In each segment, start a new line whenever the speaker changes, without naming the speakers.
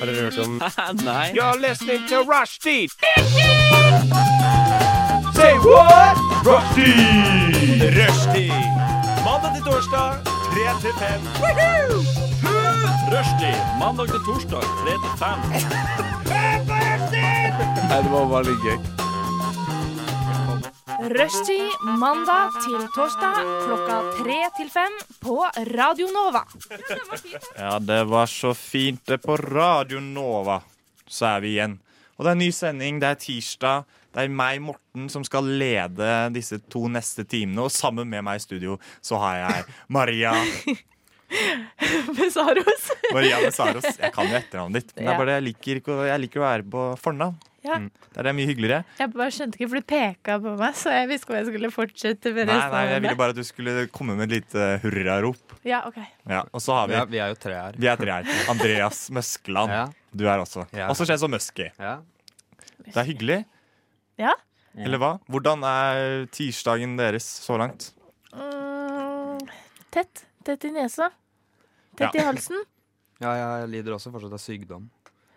Har dere hørt om
Nei.
You're listening to Rushdie. Say what? Rushdie. Rushdie. Mandag til torsdag, 3 til 5. Rushdie. Mandag til torsdag, 3 til 5.
Nei, det var bare litt gøy.
Rushtid mandag til torsdag klokka tre til fem på Radio Nova.
Ja, det var så fint. Det er på Radio Nova. Så er vi igjen. Og det er en ny sending. Det er tirsdag. Det er meg, Morten, som skal lede disse to neste timene. Og sammen med meg i studio så har jeg Maria
Besaros.
Maria Messaros. Jeg kan jo etternavnet ditt. Men det
Ja.
er bare det jeg liker ikke å- jeg liker å være på fornavn.
Ja.
Mm. Der er det mye hyggeligere.
Jeg bare skjønte ikke, for du peka på meg, så jeg visste ikke om jeg skulle fortsette med
Nei,
resten
nei, jeg
av
ville
det.
bare at du skulle komme med et lite hurrarop.
Ja, ok.
Ja, og så har vi
Ja, vi er jo tre her.
Vi er tre her. Andreas Møskeland.
Ja.
Du er også.
Ja.
Også kjent som Musky.
Ja.
Det er hyggelig.
Ja.
Eller hva? Hvordan er tirsdagen deres så langt?
Mm, tett. Tett i nesa. Tett
Ja.
i halsen.
ja, jeg lider også fortsatt av sykdom.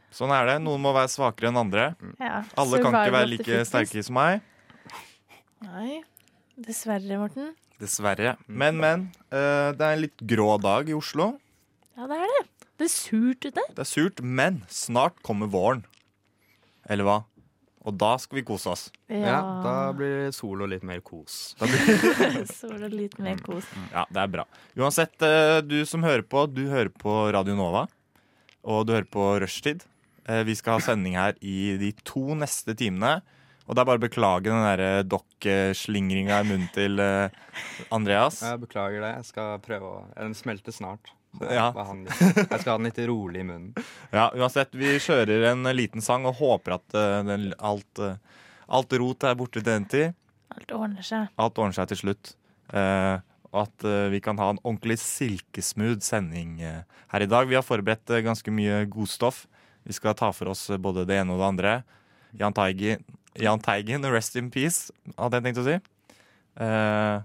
Sånn er det. Noen må være svakere enn andre.
Ja.
Alle kan
Survival
ikke være
of the
like
fittest.
sterke som meg.
Nei. Dessverre, Morten.
Dessverre. Men, men. eh, det er en litt grå dag i Oslo.
Ja, det er det. Det er surt ute.
Det er surt, men snart kommer våren. Eller hva? Og da skal vi kose oss.
Ja,
Ja, Da blir sol og litt mer kos.
Da blir...
Så var det litt mer kos.
Ja, det er bra. Uansett, eh, du som hører på, du hører på Radio Nova. Og du hører på Rushtid. Eh, Vi skal ha sending her i de to neste timene. Og det er bare å beklage den derre dokk-slingringa i munnen til eh, Andreas.
Jeg beklager det. Jeg skal prøve å Den smelter snart. Så
Ja.
bare ha den litt- Jeg skal ha den litt rolig i munnen.
Ja, uansett, vi kjører en liten sang og håper at eh, den, alt, eh, alt rot er borte til den tid.
Alt ordner seg.
Alt ordner seg til slutt. Eh, Og at eh, vi kan ha en ordentlig silkesmooth sending eh, her i dag. Vi har forberedt eh, ganske mye godstoff. Vi skal ta for oss eh, både det ene og det andre. Jahn Teigen, Jahn Teigen rest in peace, hadde jeg tenkt å si. Eh,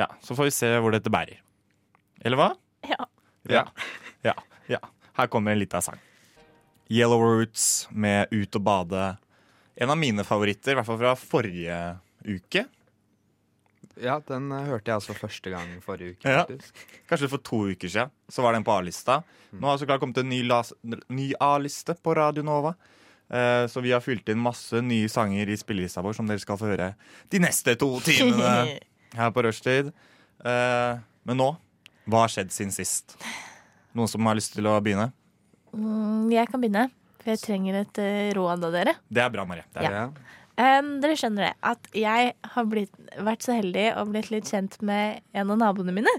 ja, så får vi se hvor dette bærer. Eller hva?
Ja.
Ja. ja. ja. Her kommer en liten sang. Yellow Roots med Ut og bade. En av mine favoritter, i hvert fall fra forrige uke.
Ja, den eh, hørte jeg altså første gang forrige uke,
Ja.
faktisk.
Kanskje for to uker siden så var den på A-lista.
Mm.
Nå har det så klart kommet en ny, las- ny A-liste på Radio Nova. Eh, Så vi har fylt inn masse nye sanger i spillelista vår som dere skal få høre de neste to timene her på rushtid. Eh, Men nå hva har skjedd siden sist? Noen som har lyst til å begynne?
Mm, jeg kan begynne, for jeg trenger et eh, råd av dere.
Det er bra, Marie. Det er bra.
Ja.
Em, dere skjønner det, at jeg har blitt, vært så heldig og blitt litt kjent med en av naboene mine.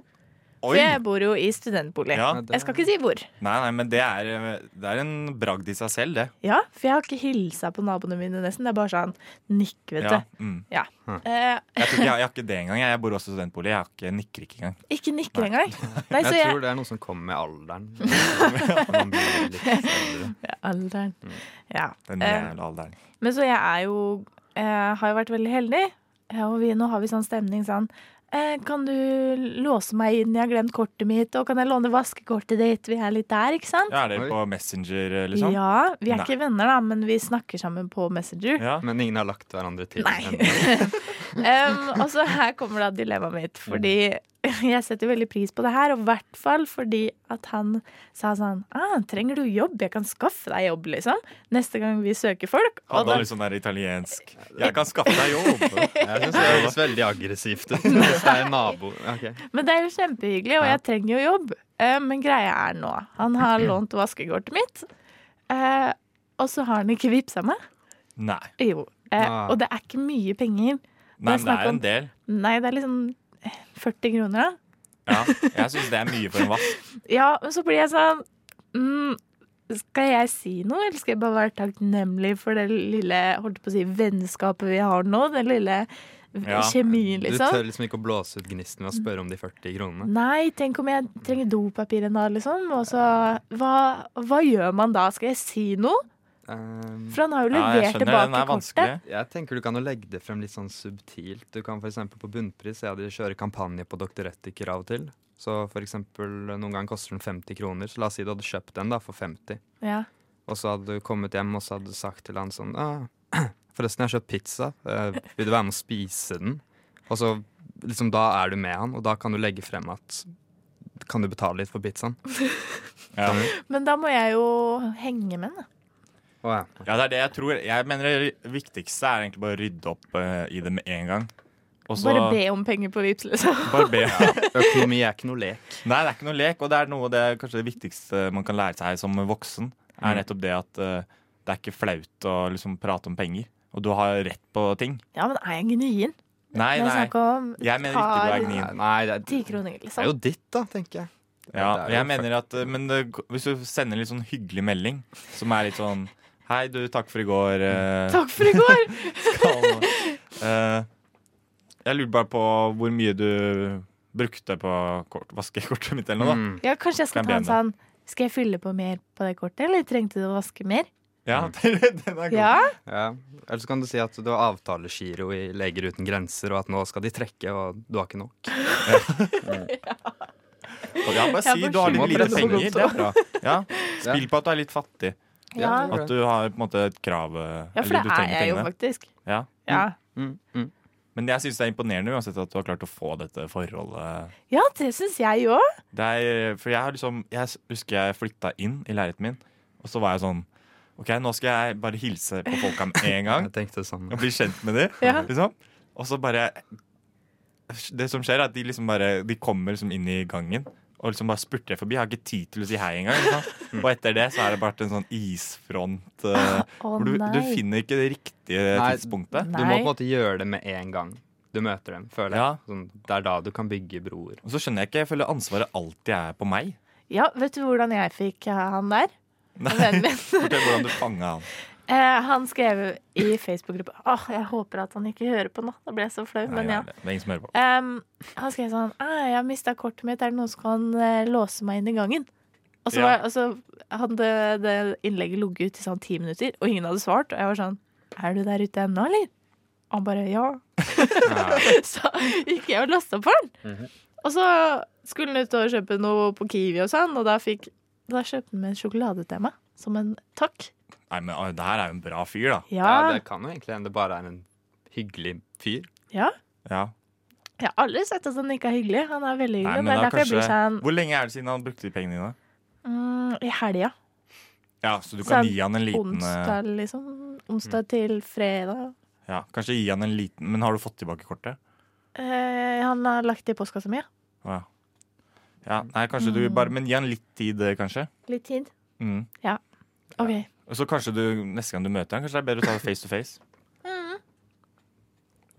For
Oi!
jeg bor jo i studentbolig.
Ja.
Ja, det-
Jeg skal ikke si hvor.
Nei, nei, men det er, det er en bragd i seg selv, det.
Ja, For jeg har ikke hilsa på naboene mine, nesten. Det er bare sånn nikk, vet
Ja,
du.
mm.
Ja. Eh,
jeg, tror ikke, jeg, jeg har ikke det engang. Jeg bor også i studentbolig. Jeg har ikke, nikker ikke engang.
ikke nikker engang. Nei, så
Altså, Jeg
jeg,
tror det er noe som kommer med alderen. Når man blir litt eldre.
Alderen. Ja.
Den
Eh,
jævla alderen.
Men så jeg er jo eh, Har jo vært veldig heldig. Ja, og vi, nå har vi sånn stemning sånn eh, Kan du låse meg inn? Jeg har glemt kortet mitt. Og kan jeg låne vaskekortet ditt? Vi er litt der, ikke sant?
Ja, er dere
Oi.
på Messenger, liksom?
Ja, vi er
Nei.
ikke venner, da, men vi snakker sammen på Messenger.
Ja.
Men ingen har lagt hverandre til.
Nei.
ennå.
Um, og så her kommer da dilemmaet mitt, fordi jeg setter veldig pris på det her. Og i hvert fall fordi at han sa sånn ah, 'Trenger du jobb? Jeg kan skaffe deg jobb', liksom. Neste gang vi søker folk. Og
Hadde
da,
han litt sånn der italiensk Jeg kan skaffe deg jobb!
Jeg synes det høres veldig aggressivt ut. Hvis det er en nabo Ok.
men det er jo kjempehyggelig, og
Ja.
jeg trenger jo jobb. Eh, men greia er nå Han har lånt vaskekortet mitt, eh, og så har han ikke vippsa meg.
Nei.
Jo. eh,
Ah.
Og det er ikke mye penger.
Nei, men det
snakk
er
om-
en del.
Nei, det er liksom 40 kroner, da.
Ja, jeg syns det er mye for en vask.
Ja, men så blir jeg sånn mm, Skal jeg si noe, eller skal jeg bare være takknemlig for det lille holdt på å si, vennskapet vi har nå? Den lille
Ja,
kjemien,
Du
liksom?
tør liksom ikke å blåse ut gnisten ved å spørre om de 40 kronene.
Nei, tenk om jeg trenger dopapir en dag, liksom. Og så hva, hva gjør man da? Skal jeg si noe?
Um,
For han har jo
Ja,
levert
jeg skjønner, den
tilbake
er vanskelig.
kortet.
Jeg tenker du kan jo legge det frem litt sånn subtilt. Du kan for eksempel på bunnpris, jeg hadde kjøre kampanje på Doktorettiker av og til. Så for eksempel, noen ganger koster den 50 kroner. Så la oss si du hadde kjøpt den da for 50,
Ja.
og så hadde du kommet hjem og så hadde du sagt til han sånn ah, 'Forresten, jeg har kjøpt pizza. Eh, vil du være med å spise den?' Og så liksom da er du med han, og da kan du legge frem at kan du betale litt for pizzaen?
Ja.
Men da må jeg jo henge med den. da.
Å ja.
ja, det er det jeg tror. Jeg mener det viktigste er egentlig bare å rydde opp eh, i det med en gang. Og så
Bare be om penger på Vipps, liksom.
Bare be.
Økonomi er ikke noe lek.
Nei, det er ikke noe lek, og det er noe av det kanskje det viktigste man kan lære seg som voksen, er nettopp det at eh, det er ikke flaut å liksom prate om penger. Og du har rett på ting.
Ja, men er jeg gnien?
Nei,
Det er
nei.
snakk om
Jeg mener ikke du er gnien.
Nei, nei det, er,
Ti kroner,
det er
liksom.
jo ditt, da, tenker jeg.
Ja,
Det er jo
jeg mener at eh, Men det, hvis du sender litt sånn hyggelig melding, som er litt sånn Hei, du, takk for i går. eh,
Takk for i går!
skal eh, Jeg lurer bare på hvor mye du brukte på kort, vaskekortet mitt eller noe, da.
Mm.
Ja, kanskje jeg skal
Kan
ta en
bli
sånn Skal jeg fylle på mer på det kortet, eller trengte du å vaske mer?
Ja,
Mm.
den er god.
Ja.
Ja. Eller så kan du si at du har avtalegiro i Leger uten grenser, og at nå skal de trekke, og du har ikke nok.
Og Ja, bare
Jeg
si
bare
du har litt lite
skjønner at det er så
penger.
dumt,
Det er bra. Ja, spill på at du er litt fattig.
Ja.
At du har på en måte et krav. eh,
Ja, for
eller du
det er
trenger
jeg jo
pengene.
faktisk.
Ja.
Ja,
Mm, mm.
Men jeg syns det er imponerende uansett at du har klart å få dette forholdet.
ja det syns jeg òg.
Det er, for jeg, har liksom, jeg s- husker jeg flytta inn i leiligheten min, og så var jeg sånn OK, nå skal jeg bare hilse på folka med en gang.
Jeg tenkte det samme.
og bli kjent med dem.
Ja.
Liksom. Og så bare Det som skjer, er at de liksom bare De kommer liksom inn i gangen. Og liksom bare spurter jeg forbi. Jeg har ikke tid til å si hei engang. Liksom. Og etter det så er det bare en sånn isfront. eh,
Mm. Å
hvor du, du
nei.
finner ikke det riktige
Nei.
tidspunktet.
Du må på
Nei.
en måte gjøre det med en gang du møter dem, føler jeg.
Ja.
Sånn, det er da du kan bygge broer.
Og så skjønner jeg ikke. Jeg føler ansvaret alltid er på meg.
Ja, vet du hvordan jeg fikk eh, han der?
Nei,
Vennen min.
Fortell hvordan du fanga han.
Eh, han skrev i Facebook-gruppa Åh, jeg håper at han ikke hører på nå. Da ble jeg så flau,
Nei,
men ja.
nei, det er ingen som hører på.
Em, han skrev sånn «Ah, 'Jeg har mista kortet mitt. Er det noen som kan eh, låse meg inn i gangen?' Og så,
Ja.
var, og så hadde det innlegget ligget ute i sånn ti minutter, og ingen hadde svart. Og jeg var sånn 'Er du der ute ennå, eller?' Og han bare 'Ja'. Så gikk jeg og lasta opp for den.
Mhm.
Og så skulle han ut og kjøpe noe på Kiwi og sånn, og da, fikk, da kjøpte han med sjokolade til meg. Som en takk.
Nei, men ah, det her er jo en bra fyr, da.
Ja,
Ja.
det kan jo egentlig hende det bare er en hyggelig fyr.
ja.
Ja.
Jeg har aldri sett at han ikke er hyggelig. Han er veldig
Nei,
hyggelig.
men
det er
da
derfor jeg blir sånn
Hvor lenge er det siden han brukte de pengene dine?
mm, I helga.
Ja, Så du
Så
kan
en
gi han en liten eh,
Sånn
Mm.
Onsdag, liksom. Onsdag til fredag.
Ja, Kanskje gi han en liten Men har du fått tilbake kortet?
Eh, han har lagt det i postkassa mi. ja.
Å, Ja. ja nei, kanskje du bare
Mm.
Men gi han litt tid, eh, kanskje.
Litt tid.
Mm.
OK.
Og så kanskje du neste gang du møter han Kanskje det er bedre å ta det face to face.
Mm.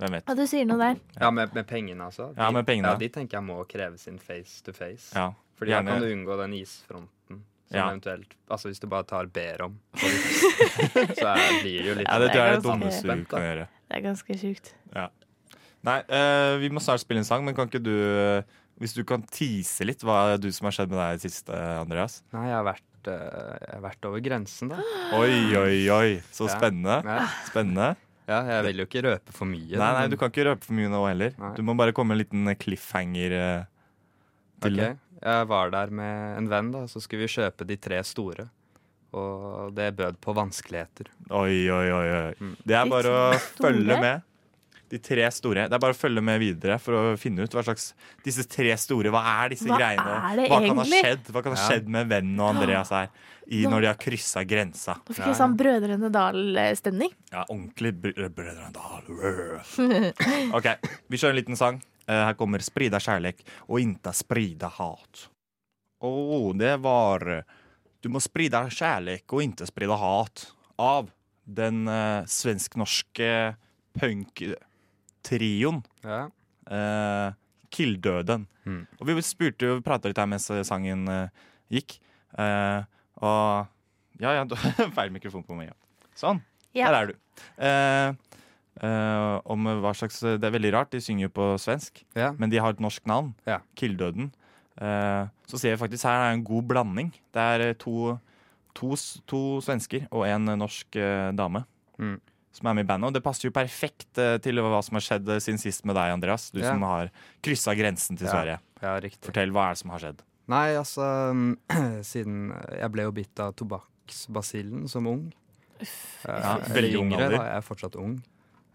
Hvem vet.
Og du sier noe der.
Ja, med, med pengene, altså.
Ja, med pengene.
Ja, de tenker jeg må kreve sin face to face.
Ja,
Fordi da
gjerne.
kan du unngå den isfronten. Som
Ja.
eventuelt, altså Hvis du bare tar ber om, så er- blir det jo litt
ja, det tror jeg er sånn det
Det er ganske-
dummeste du kan gjøre.
Det er ganske sjukt.
Nei, eh, vi må snart spille en sang, men kan ikke du eh, Hvis du kan tease litt hva du som har skjedd med deg i det siste, Andreas?
Nei, jeg har vært, eh, jeg har vært over grensen, da.
Oi, oi, oi. Så
Ja.
spennende.
Ja,
Spennende.
ja, jeg vil jo ikke røpe for mye.
Nei, nei,
men-
du kan ikke røpe for mye nå heller.
Nei.
Du må bare komme med en liten cliffhanger eh, til det.
Ok, Jeg var der med en venn, da, så skulle vi kjøpe de tre store. Og det bød på vanskeligheter.
Oi, oi, oi. oi.
Mm.
Det er
De
bare å
store?
følge med. De tre store. Det er bare å følge med videre for å finne ut hva slags Disse tre store, hva er disse
Hva
greiene?
er det
hva kan ha
egentlig?
skjedd Hva kan ha
Ja.
skjedd med vennen og Andreas her i, når de har kryssa grensa?
Nå fikk jeg sånn Brødrene Dal-stemning.
Ja, ordentlig br- Brødrene Dal. rød. OK, vi kjører en liten sang. Eh, Her kommer 'Sprida kjærlek' og 'Inta sprida hat'. Å, det var eh, 'Du må sprida kjærlek og inte sprida hat' av den eh, svensk-norske punk-trioen
Ja.
eh, Killdøden.
Mm.
Og vi spurte jo, prata litt her mens sangen eh, gikk. Eh, og Ja, ja, du feil mikrofon på meg. Ja. Sånn.
Ja.
Der er du. Eh, eh, om hva slags Det er veldig rart, de synger jo på svensk,
Ja.
men de har et norsk navn.
Ja.
Killdøden. Eh, så ser vi faktisk her er en god blanding. Det er eh, to, to, s- to svensker og en eh, norsk eh, dame.
Mm.
som er med i bandet. Og det passer jo perfekt eh, til hva som har skjedd eh, siden sist med deg, Andreas. Du
Ja.
som har kryssa grensen til
Ja.
Sverige.
Ja, riktig.
Fortell, hva er det som har skjedd?
Nei, altså Siden jeg ble jo bitt av tobakksbasillen som ung.
Ja,
Eh,
veldig
eller
ung
yngre,
alder.
da. Jeg er fortsatt ung.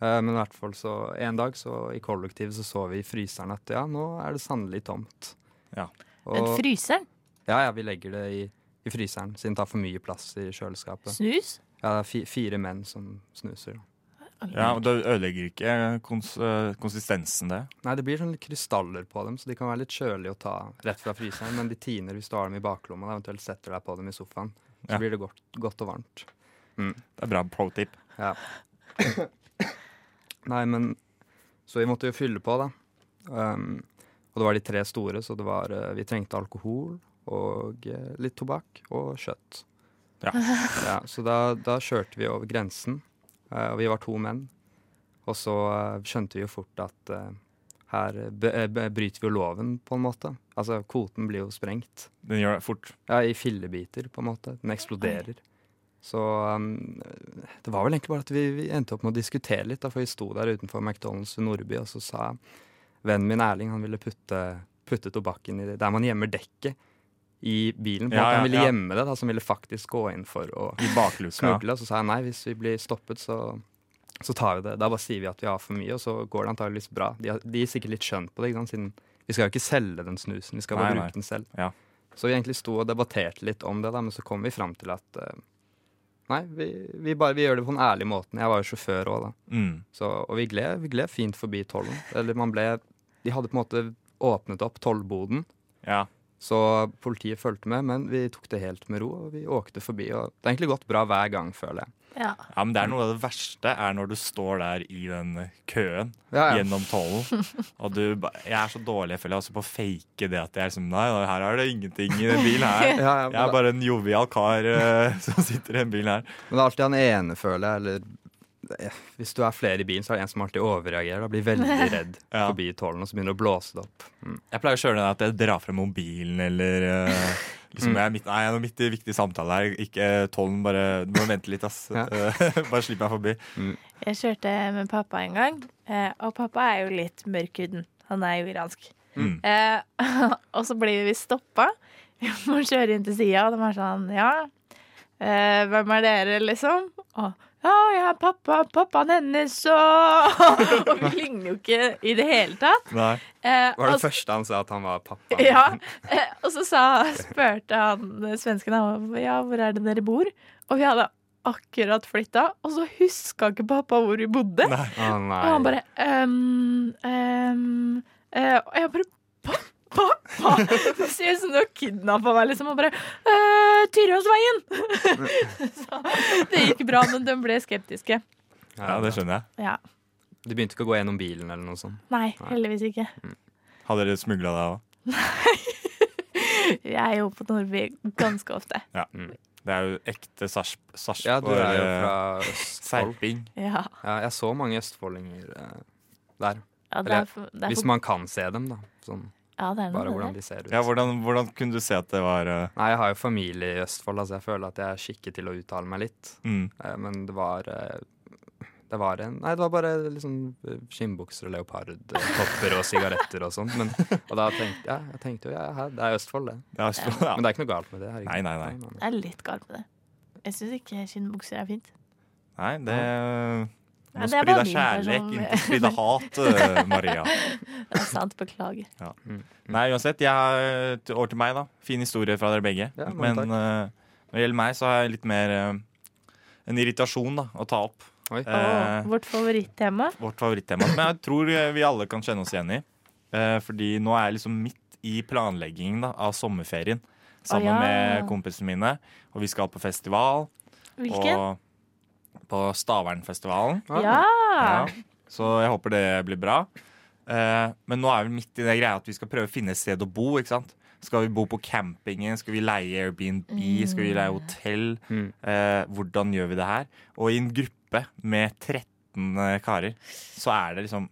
Eh, Men i hvert fall så en dag så i kollektivet så så vi i fryseren at ja, nå er det sannelig tomt.
Ja.
Men
Og,
fryseren?
ja, ja, vi legger det i, i fryseren, siden det tar for mye plass i kjøleskapet.
Snus?
Ja, det er fi, fire menn som snuser. da.
Ja, og Det ødelegger ikke kons eh, konsistensen, det.
Nei, det blir sånn litt krystaller på dem, så de kan være litt kjølige å ta rett fra fryseren, men de tiner hvis du har dem i baklomma og eventuelt setter deg på dem i sofaen. Så
Ja.
blir det godt, godt og varmt.
Det er bra pro tip.
Ja. Nei, men Så vi måtte jo fylle på, da. Um, og det var de tre store, så det var eh, Vi trengte alkohol og eh, litt tobakk og kjøtt.
Ja.
ja så da, da kjørte vi over grensen, eh, og vi var to menn. Og så eh, skjønte vi jo fort at eh, her be, eh, be, bryter vi jo loven, på en måte. Altså, kvoten blir jo sprengt.
Den gjør det fort.
Ja, i fillebiter, på en måte. Den eksploderer. Så um, det var vel egentlig bare at vi, vi endte opp med å diskutere litt, da, for vi sto der utenfor McDonald's ved Nordby, og så sa vennen min Erling han ville putte, putte tobakken i det der man gjemmer dekket i bilen. På en
Ja,
måte.
ja,
han ville
ja.
gjemme det, da, så han ville faktisk gå inn for å
I bakluka.
smugle. Og så sa jeg nei, hvis vi blir stoppet, så, så tar vi det. Da bare sier vi at vi har for mye, og så går det antageligvis bra. De, har- de gir sikkert litt skjønn på det, ikke sant? siden vi skal jo ikke selge den snusen, vi skal
Nei,
bare
nei.
bruke den selv.
Ja.
Så vi egentlig sto og debatterte litt om det, da, men så kom vi fram til at eh, nei, vi, vi, bare, vi gjør det på den ærlige måten. Jeg var jo sjåfør òg, da.
Mm.
Så, og vi gled, vi gled fint forbi tollen. Eller man ble De hadde på en måte åpnet opp tollboden,
Ja.
så politiet fulgte med, men vi tok det helt med ro, og vi åkte forbi. Og det har egentlig gått bra hver gang, føler jeg.
Ja.
ja, men det er noe av det verste er når du står der i den køen
Ja, ja.
gjennom tollen. Og du ba Jeg er så dårlig, jeg føler jeg, også på å fake det at jeg er liksom Nei, nei, her er det ingenting i den bilen her.
Ja, ja,
Jeg er
men, det,
bare en jovial kar eh, som sitter i den bilen her.
men det er alltid han ene, føler jeg. Eller eh, hvis du er flere i bilen, så er det en som alltid overreagerer. Da blir veldig redd
Ja.
forbi tollen, og så begynner det å blåse det opp. Mm.
Jeg pleier å kjøre den at jeg drar frem mobilen eller eh, liksom,
Mm.
jeg er midt, Nei, jeg er nå midt i viktig samtale her. Ikke eh, tollen, bare Du må vente litt, ass.
Ja.
Eh, bare slipp meg forbi.
Jeg kjørte med pappa en gang, eh, og pappa er jo litt mørkhuden. Han er jo iransk.
Mm.
Eh, og så blir vi stoppa. Vi må kjøre inn til sida, og de er sånn Ja, eh, hvem er dere, liksom? Og ja, jeg er pappa, pappaen hennes, og Og vi ligner jo ikke i det hele tatt.
Nei.
Eh,
Var det
og-
første han sa at han var pappa?
ja, eh, og så sa, spurte han eh, svensken han var, Ja, hvor er det dere bor? Og vi hadde akkurat flytta, og så huska ikke pappa hvor vi bodde.
Å, nei.
Og han bare ehm, ehm, eh, Og jeg bare Pappa! pappa!» Det ser ut som du har kidnappa meg, liksom. Og bare «Eh, Tyrihåsveien! så det gikk bra, men de ble skeptiske.
Ja, det skjønner jeg.
Ja.
Du begynte ikke å gå gjennom bilen eller noe sånt?
Nei, heldigvis ikke.
Hadde dere smugla deg òg?
Jeg er jo på Nordby ganske ofte.
Det er jo ekte Sarpsborg. Sars
Ja, du er jo
eh,
fra Østfold.
Serping.
Ja,
Ja, jeg så mange østfoldinger eh, der.
ja det
Eller,
er, for- det er,
Hvis
for-
man kan se dem, da. Sånn,
ja, det er
bare
noe
hvordan
med det.
de ser ut.
Ja, hvordan, hvordan kunne du se at det var eh,
Nei, jeg har jo familie i Østfold, altså jeg føler at jeg er skikket til å uttale meg litt.
mm,
Eh, Men det var eh, Det var en Nei, det var bare liksom eh, skinnbukser og leopardtopper og sigaretter og sånn. Men- Og da tenkte jeg, jeg tenkte jo ja, her, det er Østfold, det.
Det er Østfold, ja.
Men det er ikke noe galt med det. herregud.
Nei, nei, nei.
Det er litt galt med det. Jeg syns ikke skinnbukser er fint.
Nei, det
Ja,
Nå
det er
sprir
bare
det
min
kjærlighet,
person.
ikke sprir det hat, eh, Maria.
Det er sant, beklager.
Nei, uansett. Jeg har til- over til meg, da. Fin historie fra dere begge.
Ja, mange
Men
takk.
eh, når det gjelder meg, så har jeg litt mer eh, en irritasjon da, å ta opp.
Oi.
Eh,
Åh, vårt favorittema.
vårt favorittema, som jeg tror eh, vi alle kan kjenne oss igjen i. Eh, fordi nå er jeg liksom midt i planleggingen da, av sommerferien sammen
ja.
med kompisene mine. Og vi skal på festival.
Hvilken?
Og på Stavernfestivalen.
Ja!
Ja. Så jeg håper det blir bra. Eh, men nå er vi midt i det greia at vi skal prøve å finne et sted å bo. ikke sant? Skal vi bo på campingen? Skal vi leie Airbnb? Skal vi leie hotell?
Mm.
Eh, hvordan gjør vi det her? Og i en gruppe med 13 karer, så er det liksom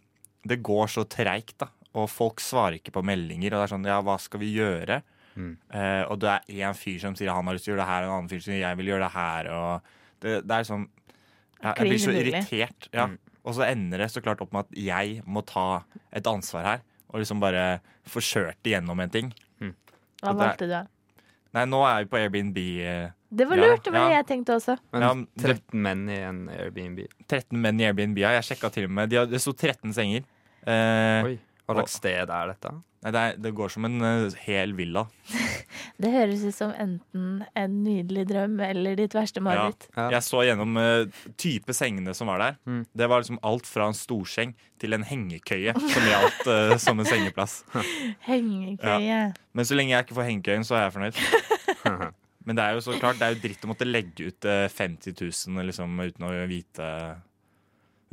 Det går så treigt, da. Og folk svarer ikke på meldinger. Og det er sånn Ja, hva skal vi gjøre?
Mm.
Eh, og det er én fyr som sier han har lyst til å gjøre det her, og en annen fyr som sier jeg vil gjøre det her. Og det, det er sånn Ja, jeg blir så
Klin umulig.
irritert. Ja.
Mm.
Og så ender det så klart opp med at jeg må ta et ansvar her. Og liksom bare forskjørte gjennom en ting.
Hva
Og
valgte du? da?
Nei, nå er vi på Airbnb. eh,
Det var
Ja,
lurt, det var det
ja.
jeg tenkte også.
Men
Ja, men det-
13 menn i en Airbnb.
13 menn i Airbnb. ja. Jeg sjekka til og med. De har, det sto 13 senger. Eh,
Oi, hva slags sted er dette?
nei, det, er, det går som en eh, hel villa.
Det høres ut som enten en nydelig drøm eller ditt verste mareritt.
Ja.
Jeg så gjennom eh, type sengene som var der.
Mm.
Det var liksom alt fra en storseng til en hengekøye som gjaldt eh, som en sengeplass.
Hengekøye.
Men så lenge jeg ikke får hengekøyen, så er jeg fornøyd. Men det er jo så klart, det er jo dritt å måtte legge ut eh, 50 000 liksom, uten å vite,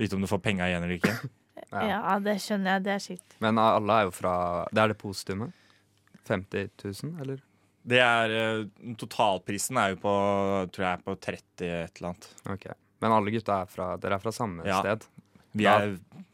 vite om du får penga igjen eller ikke.
Ja. det skjønner jeg. Det er sykt.
Men alle er jo fra Det er det positumet. 50 000, eller?
Det er, eh, totalprisen er jo på tror jeg er på 30 et eller annet.
Ok. Men alle gutta er fra Dere er fra samme
Ja.
sted?
Vi
Ja.
er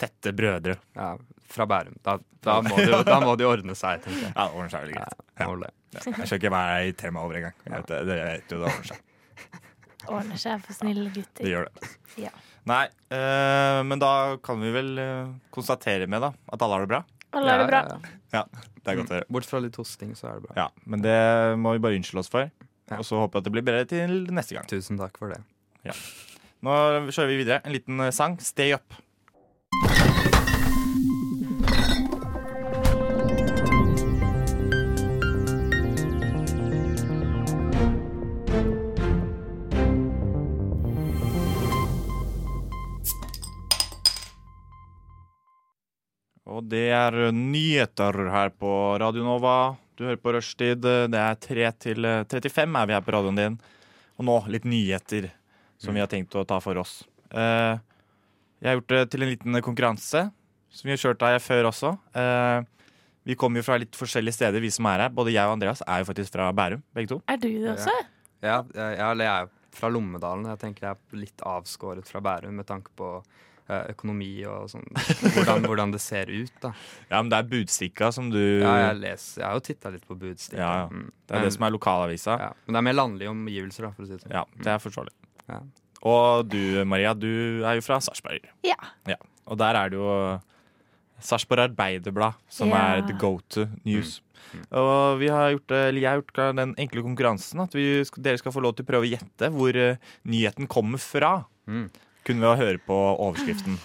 tette brødre.
Ja, fra Bærum. Da, da, må de, da må de ordne seg, tenker jeg.
Ja, det ordner seg vel
Ja,
greit.
må vel det.
Jeg skal ikke være i temaet over engang. Jeg vet det. Dere vet jo det ordner seg.
Ordner seg for snille
Det
gutter.
gjør det.
Ja.
Nei, eh, men da kan vi vel eh, konstatere med da at alle har det bra.
Alle har det bra.
Ja, ja,
Det er godt å høre.
ja. Bort fra litt hosting, så er det bra.
Ja, men det må vi bare unnskylde oss for.
Ja.
Og så håper jeg at det blir bedre til neste gang.
Tusen takk for det.
Nå kjører vi videre. En liten eh, sang. Stay up. Og det er eh, nyheter her på Radio Nova. Du hører på rushtid. Det er 3 til eh, 35 er vi her på radioen din. Og nå litt nyheter som vi har tenkt å ta for oss. Eh, jeg har gjort det til en liten konkurranse, som vi har kjørt her før også. Eh, vi kommer jo fra litt forskjellige steder, vi som er her. Både jeg og Andreas er jo faktisk fra Bærum, begge to.
Er du det også?
Ja, jeg, jeg er fra Lommedalen. Jeg tenker jeg er litt avskåret fra Bærum med tanke på eh, økonomi og sånn. Hvordan, hvordan det ser ut, da.
Ja, men det er Budstikka som du
Ja, jeg, leser, jeg har jo titta litt på Budstikka.
Ja, ja.
Mm.
Det er det som er lokalavisa.
ja. Men det er mer landlige omgivelser, da, for å si det sånn.
Ja, det er forståelig.
Ja.
Og du, Maria, du er jo fra Sarpsborg.
Ja.
Og der er det jo Sarpsborg Arbeiderblad som
Ja.
er the go to news. Og vi har gjort, eller jeg har gjort den enkle konkurransen at vi, sk- dere skal få lov til å prøve å gjette hvor eh, nyheten kommer fra.
Mm.
Kunne vi jo høre på overskriften.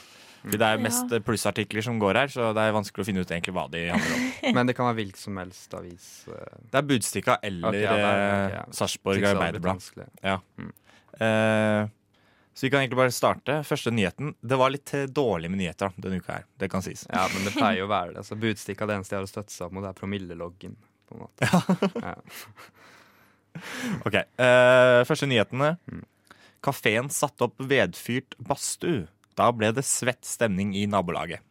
Fordi Det er jo mest eh, plussartikler som går her, så det er vanskelig å finne ut egentlig hva de handler om.
Men det kan være hvilken som helst avis. eh,
Det er Budstikka eller
Ok, ja, det er- ok, ja.
eh, Sarpsborg
synes jeg det er litt
Arbeiderblad.
vanskelig.
Eh, så vi kan egentlig bare starte. Første nyheten. Det var litt eh, dårlig med nyheter da, denne uka her. Det kan sies.
Ja, men det pleier jo å være det. Altså, Budstikka det eneste jeg har å støtte seg opp mot, er promilleloggen. på en måte.
Ok, eh, Første nyhetene.
Mm.
Kafeen satte opp vedfyrt badstue. Da ble det svett stemning i nabolaget.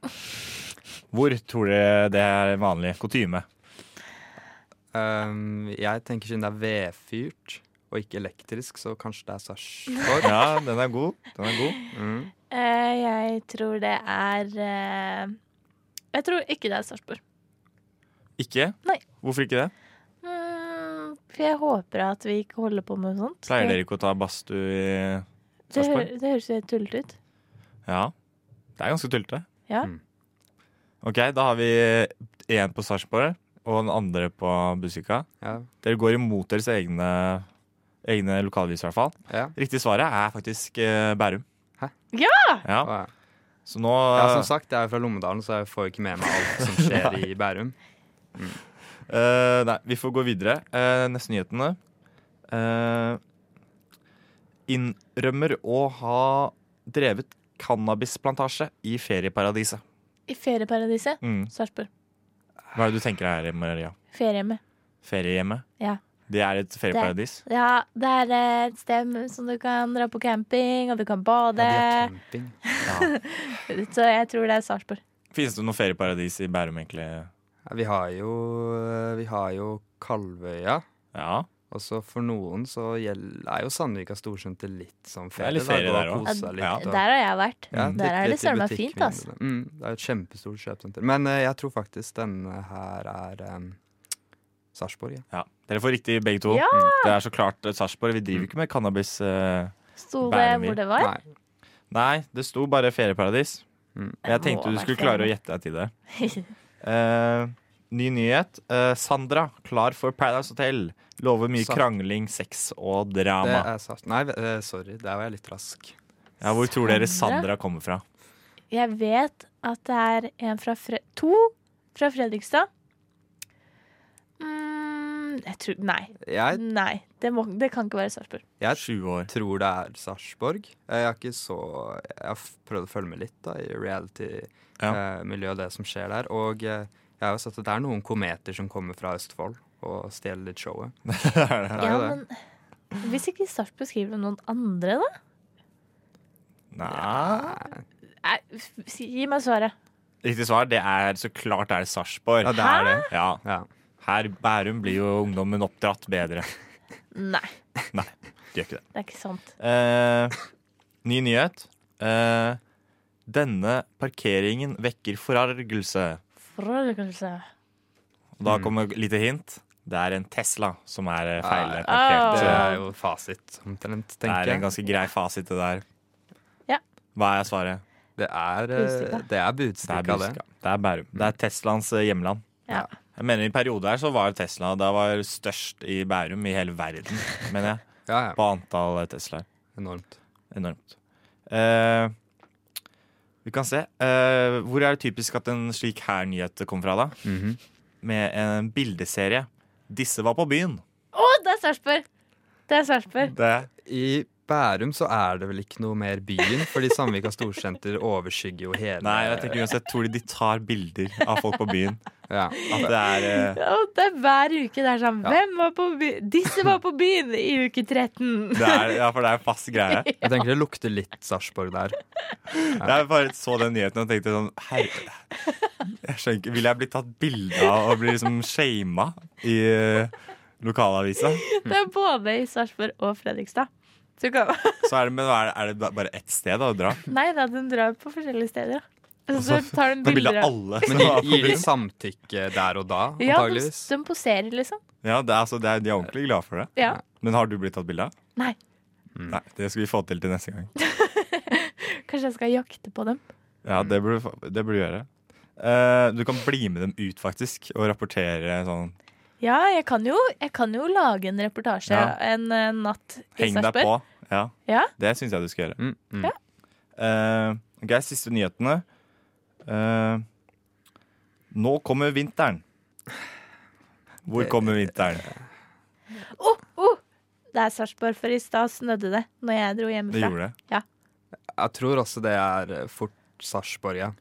Hvor tror dere det er vanlig kutyme?
Um, jeg tenker siden det er vedfyrt og ikke elektrisk, så kanskje det er Sarpsborg.
Ja, den er god. Den er god.
Mm.
Eh, jeg tror det er eh, Jeg tror ikke det er Sarpsborg.
Ikke?
Nei.
Hvorfor ikke det?
Mm, for jeg håper at vi ikke holder på med sånt.
Pleier dere ikke å ta badstue i
Det, hø
Sarpsborg?
det høres jo helt tullete ut.
Ja. Det er ganske tullete.
Ja.
Mm.
Ok, da har vi én på Sarpsborg og den andre på Budstikka.
Ja.
Dere går imot deres egne, egne lokalvis, i hvert fall.
Ja.
Riktig svaret er faktisk eh, Bærum.
Hæ?
Ja!
Ja,
Å, ja.
Så nå
ja, som sagt, jeg er jo fra Lommedalen, så jeg får jo ikke med meg alt som skjer i Bærum.
eh, Nei, vi får gå videre. Eh, neste nyhetene. Eh, innrømmer å ha drevet cannabisplantasje i ferieparadiset.
I ferieparadiset
Mm.
Sarpsborg.
Hva er det du tenker her, Maria?
Feriehjemmet.
Feriehjemmet?
Ja.
Det er et ferieparadis?
Ja, det er eh, et sted som du kan dra på camping, og du kan bade.
Ja, de har camping.
Så jeg tror det er Sarpsborg.
Finnes det noe ferieparadis i Bærum, egentlig?
Ja, Vi har jo, vi har jo Kalvøya.
Ja.
Og så for noen så gjeld, er jo Sandvika Storsund til litt sånn
er
ferie.
litt ferie der også.
også.
Ja.
Der har jeg vært.
Ja,
Der er det søren meg fint, ass.
Mm, det er jo et kjempestort kjøpesenter. Men eh, jeg tror faktisk denne her er um, Sarpsborg, ja.
ja. Dere får riktig begge to. Mm.
Ja!
Mm.
Det er så klart Sarpsborg. Vi driver ikke med cannabis. eh,
Sto det
Bærum,
hvor det var?
Nei.
Nei, det sto bare ferieparadis.
Mm.
Jeg
Det
tenkte
må
du
være
skulle klare å gjette deg til det. Eh, ny nyhet. Eh, Sandra, klar for Paradise Hotel. Lover mye
Sant.
krangling, sex og
Det
drama.
er sant. Nei, eh, sorry. Der var jeg litt rask.
Ja, hvor tror dere
Sandra?
Sandra kommer fra?
Jeg vet at det er en fra Fre to fra Fredrikstad. Mm, jeg tror Nei.
Jeg,
nei det, må, det kan ikke være Sarpsborg.
jeg
Sju år.
tror det er Sarpsborg. Jeg har ikke så Jeg har f- prøvd å følge med litt da, i reality-miljøet og det som skjer der. Og eh, jeg har jo sett at det er noen kometer som kommer fra Østfold og stjeler litt showet. Det er
Ja,
jo det.
men Hvis ikke Sarpsborg skriver om noen andre, da?
Nei.
Nei, f- si- gi meg svaret.
Riktig svar, det er så klart det er
Ja,
Sarpsborg.
det er det.
Ja.
Ja.
Her Bærum blir jo ungdommen oppdratt bedre.
Nei,
Det gjør ikke det.
det er ikke sant.
Eh, ny nyhet. Eh, denne parkeringen vekker forargelse.
Forholdelse.
Og da
Mm.
kommer et lite hint. Det er en Tesla som er eh, feil
Ah,
parkert.
Det
Så
er jo fasit, omtrent,
Det
tenker
er en
jeg.
ganske grei fasit, det der.
Ja.
Hva er svaret?
Det er, eh,
Budstikka.
Det
det er
Mm. er,
budstikka, det.
Buskerud. det er Bærum. Det er Teslaens eh, hjemland.
Ja.
Jeg mener I en periode her så var Tesla da var størst i Bærum i hele verden, mener jeg.
Ja, ja.
På antall eh, Teslaer.
Enormt.
Enormt. Eh, vi kan se. Eh, hvor er det typisk at en slik her nyhet kommer fra, da?
Mhm.
Med en bildeserie. Disse var på byen.
Å, det er Sarpsborg! Det er Sarpsborg.
Det
I Bærum så er det vel ikke noe mer byen, fordi Sandvika storsenter overskygger jo hele
Nei, jeg tenker uansett tror de de tar bilder av folk på byen.
ja.
At det er eh,
Ja, og det er hver uke det er sånn
Ja.
Hvem var på byen? Disse var på byen i uke 13!
det er, ja, for det er en fast greie.
Jeg tenker det lukter litt Sarpsborg der.
Jeg bare så den nyheten og tenkte sånn Herre, jeg skjønner ikke Vil jeg bli tatt bilde av og bli liksom shama i eh, lokalavisa?
Det er både i Sarpsborg og Fredrikstad. Så kan,
Så er det, men er det, er det da bare ett sted å dra?
nei da, den drar på forskjellige steder. da. Så
Altså,
tar den
Det er bilde
bilder
av
av
alle
Men
som
gir,
var på
gir de
byen.
samtykke der og da,
Ja, de,
antageligvis?
de poserer, liksom.
Ja, det er, altså, det er, de er ordentlig glade for det.
Ja.
Men har du blitt tatt bilde av? Mm.
Nei.
Nei, Det skal vi få til til neste gang.
Kanskje jeg skal jakte på dem.
Ja, det burde, du fa- det burde du gjøre. Eh, du kan bli med dem ut, faktisk, og rapportere sånn
Ja, jeg kan jo, jeg kan jo lage en reportasje
Ja.
en eh, natt i
Heng deg
Sarpsborg.
på. Ja,
Ja.
Det syns jeg du skal gjøre.
Mm, mm.
Ja.
Eh, ok, siste nyhetene. Eh, nå kommer vinteren. Hvor kommer vinteren?
Oh, oh! Det er Sarpsborg, for i stad snødde det når jeg dro
Det
hjemmefra.
gjorde det.
Jeg tror også det er eh, fort Sarpsborg, ja.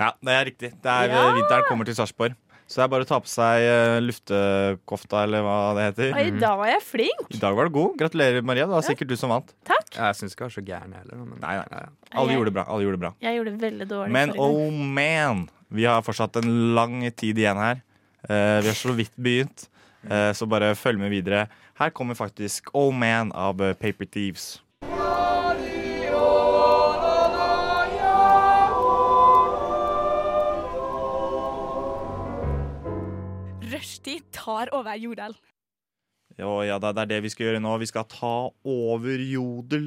Ja, det er riktig. Det er,
Ja!
Vinteren kommer til Sarpsborg. Så det er bare å ta på seg eh, luftekofta, eller hva det Mm. heter.
Oi, da var jeg flink!
I dag var du god. Gratulerer, Maria. Det var sikkert du som vant.
Jeg syns ikke jeg er så gæren heller. Men
Nei, nei.
Ja, ja.
Alle
Jeg-
gjorde det bra. Alle gjorde det bra.
Jeg gjorde det veldig dårlig.
Men
forrige
oh
gang.
man, vi har fortsatt en lang tid igjen her. Eh, vi har så vidt begynt, eh, så bare følg med videre. Her kommer faktisk Oh Man av eh, Paper Thieves.
Rushtid tar over Jodel.
Og ja, det er det vi skal gjøre nå. Vi skal ta over Jodel.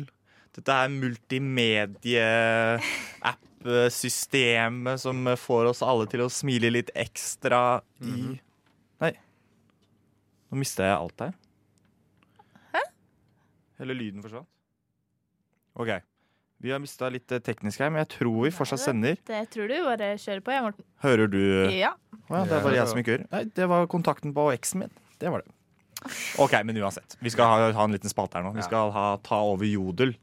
Dette er multimedie-app-systemet som får oss alle til å smile litt ekstra i Nei. Nå mista jeg alt her.
Hæ?
Hele lyden forsvant. OK. Vi har mista litt eh, teknisk her, men jeg tror vi fortsatt sender.
Det tror du bare kjører på, jeg, Morten.
Hører du eh,
Ja.
å ja, det er bare jeg som ikke hører. Nei, det var kontakten på eksen min. Det var det. OK, men uansett. Vi skal ha, ha en liten spalte her nå. Vi skal ha Ta over Jodel.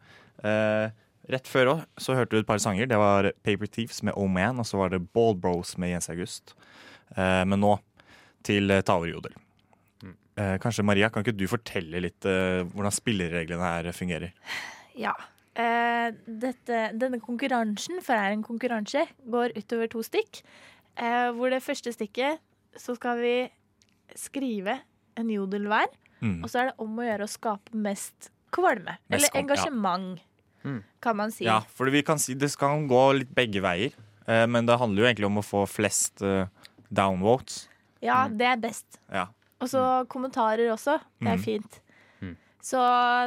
Eh, rett før òg så hørte du et par sanger. Det var Paper Thieves med Oh Man, og så var det Ball Bros med Jens August. Eh, men nå til eh, Ta over Jodel. Eh, kanskje Maria, kan ikke du fortelle litt eh, hvordan spillereglene her fungerer?
Ja. Eh, dette, denne konkurransen, for det er en konkurranse, går utover to stikk. Eh, hvor det første stikket så skal vi skrive en jodel hver.
Mm.
Og så er det om å gjøre å skape mest kvalme.
Mest
eller
kvalme, ja.
engasjement,
Mm.
kan man si.
Ja, for vi kan si det skal gå litt begge veier. Eh, men det handler jo egentlig om å få flest eh, downvotes.
Ja, det er best.
Mm. Ja.
Og så kommentarer også. Det er
Mm.
fint.
Mm.
så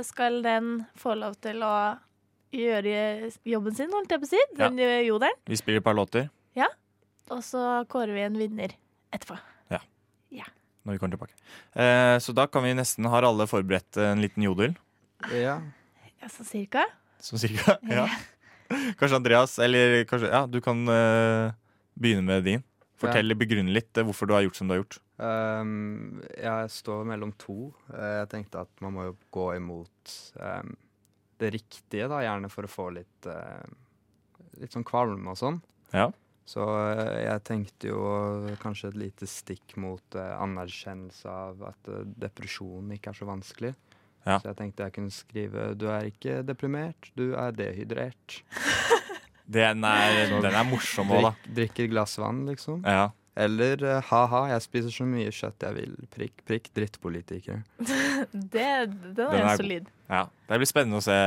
skal den få lov til å gjøre jobben sin, holdt jeg på å si. Den gjør jodelen.
Vi spiller et par låter
Og så kårer vi en vinner etterpå.
når vi kommer tilbake. Eh, så da kan vi nesten Har alle forberedt en liten jodel?
Ja.
Ja, sånn cirka.
Sånn cirka? Ja. Kanskje Andreas, eller kanskje Ja, du kan eh, begynne med din. Fortell, begrunn litt eh, hvorfor du har gjort som du har gjort.
Ehm, jeg står mellom to. Eh, jeg tenkte at man må jo gå imot ehm, det riktige, da, gjerne for å få litt, eh, litt sånn kvalme og sånn.
Ja.
Så eh, jeg tenkte jo kanskje et lite stikk mot eh, anerkjennelse av at eh, depresjon ikke er så vanskelig.
Ja.
Så jeg tenkte jeg kunne skrive 'Du er ikke deprimert, du er dehydrert'.
Den er, den er morsom òg, da.
Drikk, drikk et glass vann, liksom.
Ja.
Eller eh, ha-ha, jeg spiser så mye kjøtt jeg vil. Prikk, prikk, drittpolitiker.
Det, den er,
Den er
jo
god.
solid.
ja. Det blir spennende å se.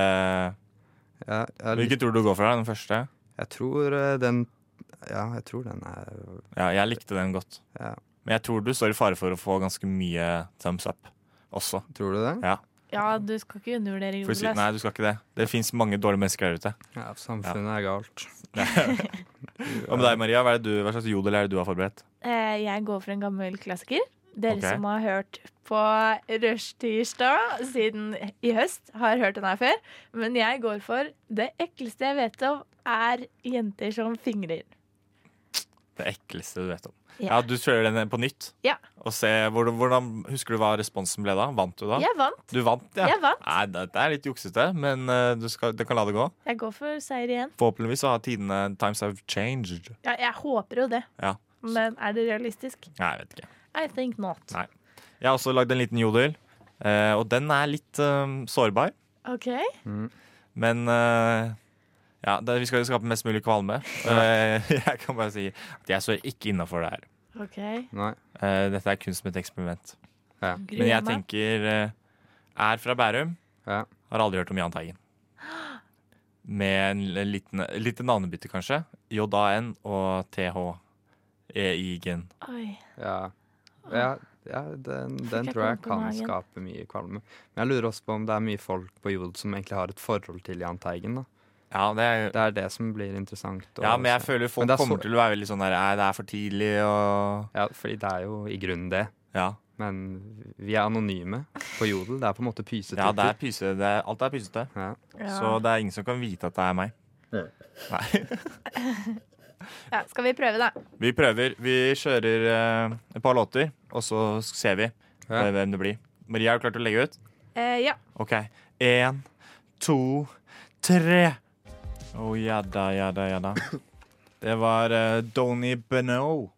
Ja, jeg, har lyst-
Hvilken tror du går for? da, Den første?
jeg tror eh, den Ja, jeg tror den er
Ja, jeg likte den godt.
Ja.
Men jeg tror du står i fare for å få ganske mye thumbs up også.
Tror du det?
Ja, du skal ikke undervurdere
For å si,
jodel.
nei,
ass.
du skal ikke det. Det fins mange dårlige mennesker der ute.
Ja, samfunnet er galt.
Hva med deg, Maria? Hva, er det du, hva slags jodel er det du har forberedt?
Eh, Jeg går for en gammel klassiker. Dere
Ok.
som har hørt på Rushtirsdag siden i høst, har hørt den her før. Men jeg går for det ekleste jeg vet om, er jenter som fingrer.
Det ekleste du vet om.
Ja.
Ja, Du kjører den på nytt?
Ja.
Og se, hvordan, hvordan, husker du hva responsen ble da? Vant du da?
Jeg vant.
Du vant, ja.
Jeg vant.
Nei, det, det er litt juksete, men eh, du skal, det kan la det gå.
Jeg går for seier igjen.
Forhåpentligvis så har tidene Times have changed.
Ja, jeg håper jo det.
Ja.
Men er det realistisk?
Nei, jeg vet ikke.
I think not.
Nei. Jeg har også lagd en liten jodel, eh, og den er litt eh, sårbar.
OK.
Men eh, ja, det, vi skal jo skape mest mulig kvalme. Eh, jeg kan bare si at jeg står ikke innafor det her.
ok.
Nei.
Eh, dette er kun som et eksperiment.
Ja.
Men
Gruer
jeg
meg.
tenker eh, Er fra Bærum.
Ja.
Har aldri hørt om Jahn Teigen. Med en l- liten, lite navnebytte, kanskje. JAN og E THEIGEN.
Oi.
ja. ja. Ja, den, den
jeg
tror jeg
klump i
kan
magen?
skape mye kvalme. Men jeg lurer også på om det er mye folk på jord som egentlig har et forhold til Jahn Teigen. da.
Ja, det er,
Det er det som blir interessant. å
ja, men jeg
se.
føler folk
Men det er så-
kommer til å være veldig sånn der Nei, det er for tidlig og
Ja, fordi det er jo i grunnen det.
Ja,
Men vi er anonyme på Jodel. Det er på en måte pysete.
ja det er pyse, det er, alt er pysete.
Ja.
Så
Ja.
det er ingen som kan vite at det er meg. Nei.
ja. Skal vi prøve, da?
Vi prøver. Vi kjører eh, et par låter, og så ser vi
Ja.
eh, hvem det blir. Maria, har du klart å legge ut?
Eh, ja.
OK. Én, to, tre. Å, jadda, jadda, jadda. Det var eh, Donny Beno,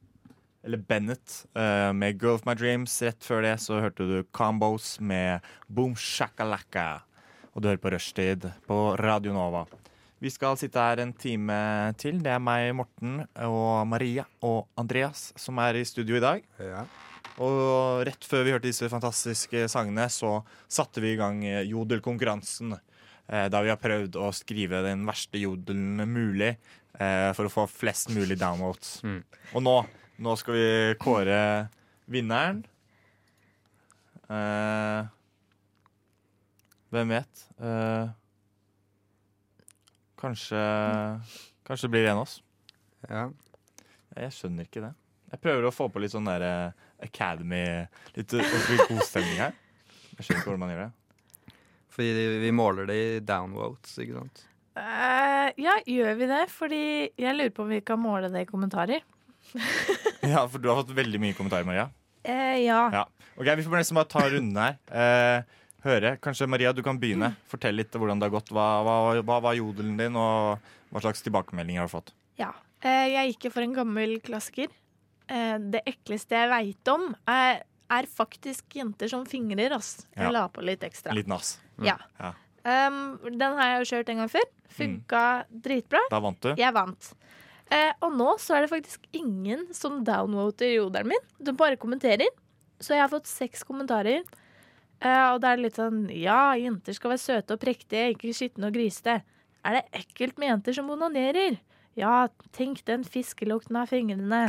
eller Bennett, eh, med 'Girl of My Dreams'. Rett før det så hørte du Combos med 'Boom Shakalaka'. Og du hører på Rushtid på Radio Nova. Vi skal sitte her en time til. Det er meg, Morten, og Maria og Andreas som er i studio i dag.
Ja.
Og rett før vi hørte disse fantastiske sangene, så satte vi i gang eh, jodelkonkurransen. eh, Da vi har prøvd å skrive den verste jodelen mulig eh, for å få flest mulig downvotes.
Mm.
Og nå, nå skal vi kåre vinneren. Eh, hvem vet? Eh, kanskje, kanskje det blir en av oss.
Ja.
Jeg skjønner ikke det. Jeg prøver å få på litt sånn der eh, Academy Litt eh, ordentlig god stemning her. Jeg skjønner ikke hvordan man gjør det.
Fordi vi måler det i downvotes, ikke sant?
Eh, ja, gjør vi det? Fordi jeg lurer på om vi kan måle det i kommentarer.
Ja, for du har fått veldig mye kommentarer, Maria.
Eh, ja.
Ja. Ok, Vi får nesten bare ta runden her. Eh, høre. Kanskje Maria, du kan
Mm.
begynne. Fortell litt hvordan det har gått. Hva, hva, hva var jodelen din, og hva slags tilbakemeldinger har du fått?
Ja. Eh, Jeg gikk jo for en gammel klassiker. Eh, Det ekleste jeg veit om, er, er faktisk jenter som fingrer, ass. Jeg
Ja.
la på litt ekstra.
Litt nass.
Ja.
Ja. Mm.
Um, den har jeg jo kjørt en gang før. Funka dritbra.
Da vant du.
Jeg vant. Eh, og nå så er det faktisk ingen som downvoter jodelen min. De bare kommenterer. Så jeg har fått seks kommentarer. Eh, og da er det litt sånn Ja, jenter skal være søte og prektige, ikke skitne og grisete. Er det ekkelt med jenter som onanerer? Ja, tenk den fiskelukten av fingrene.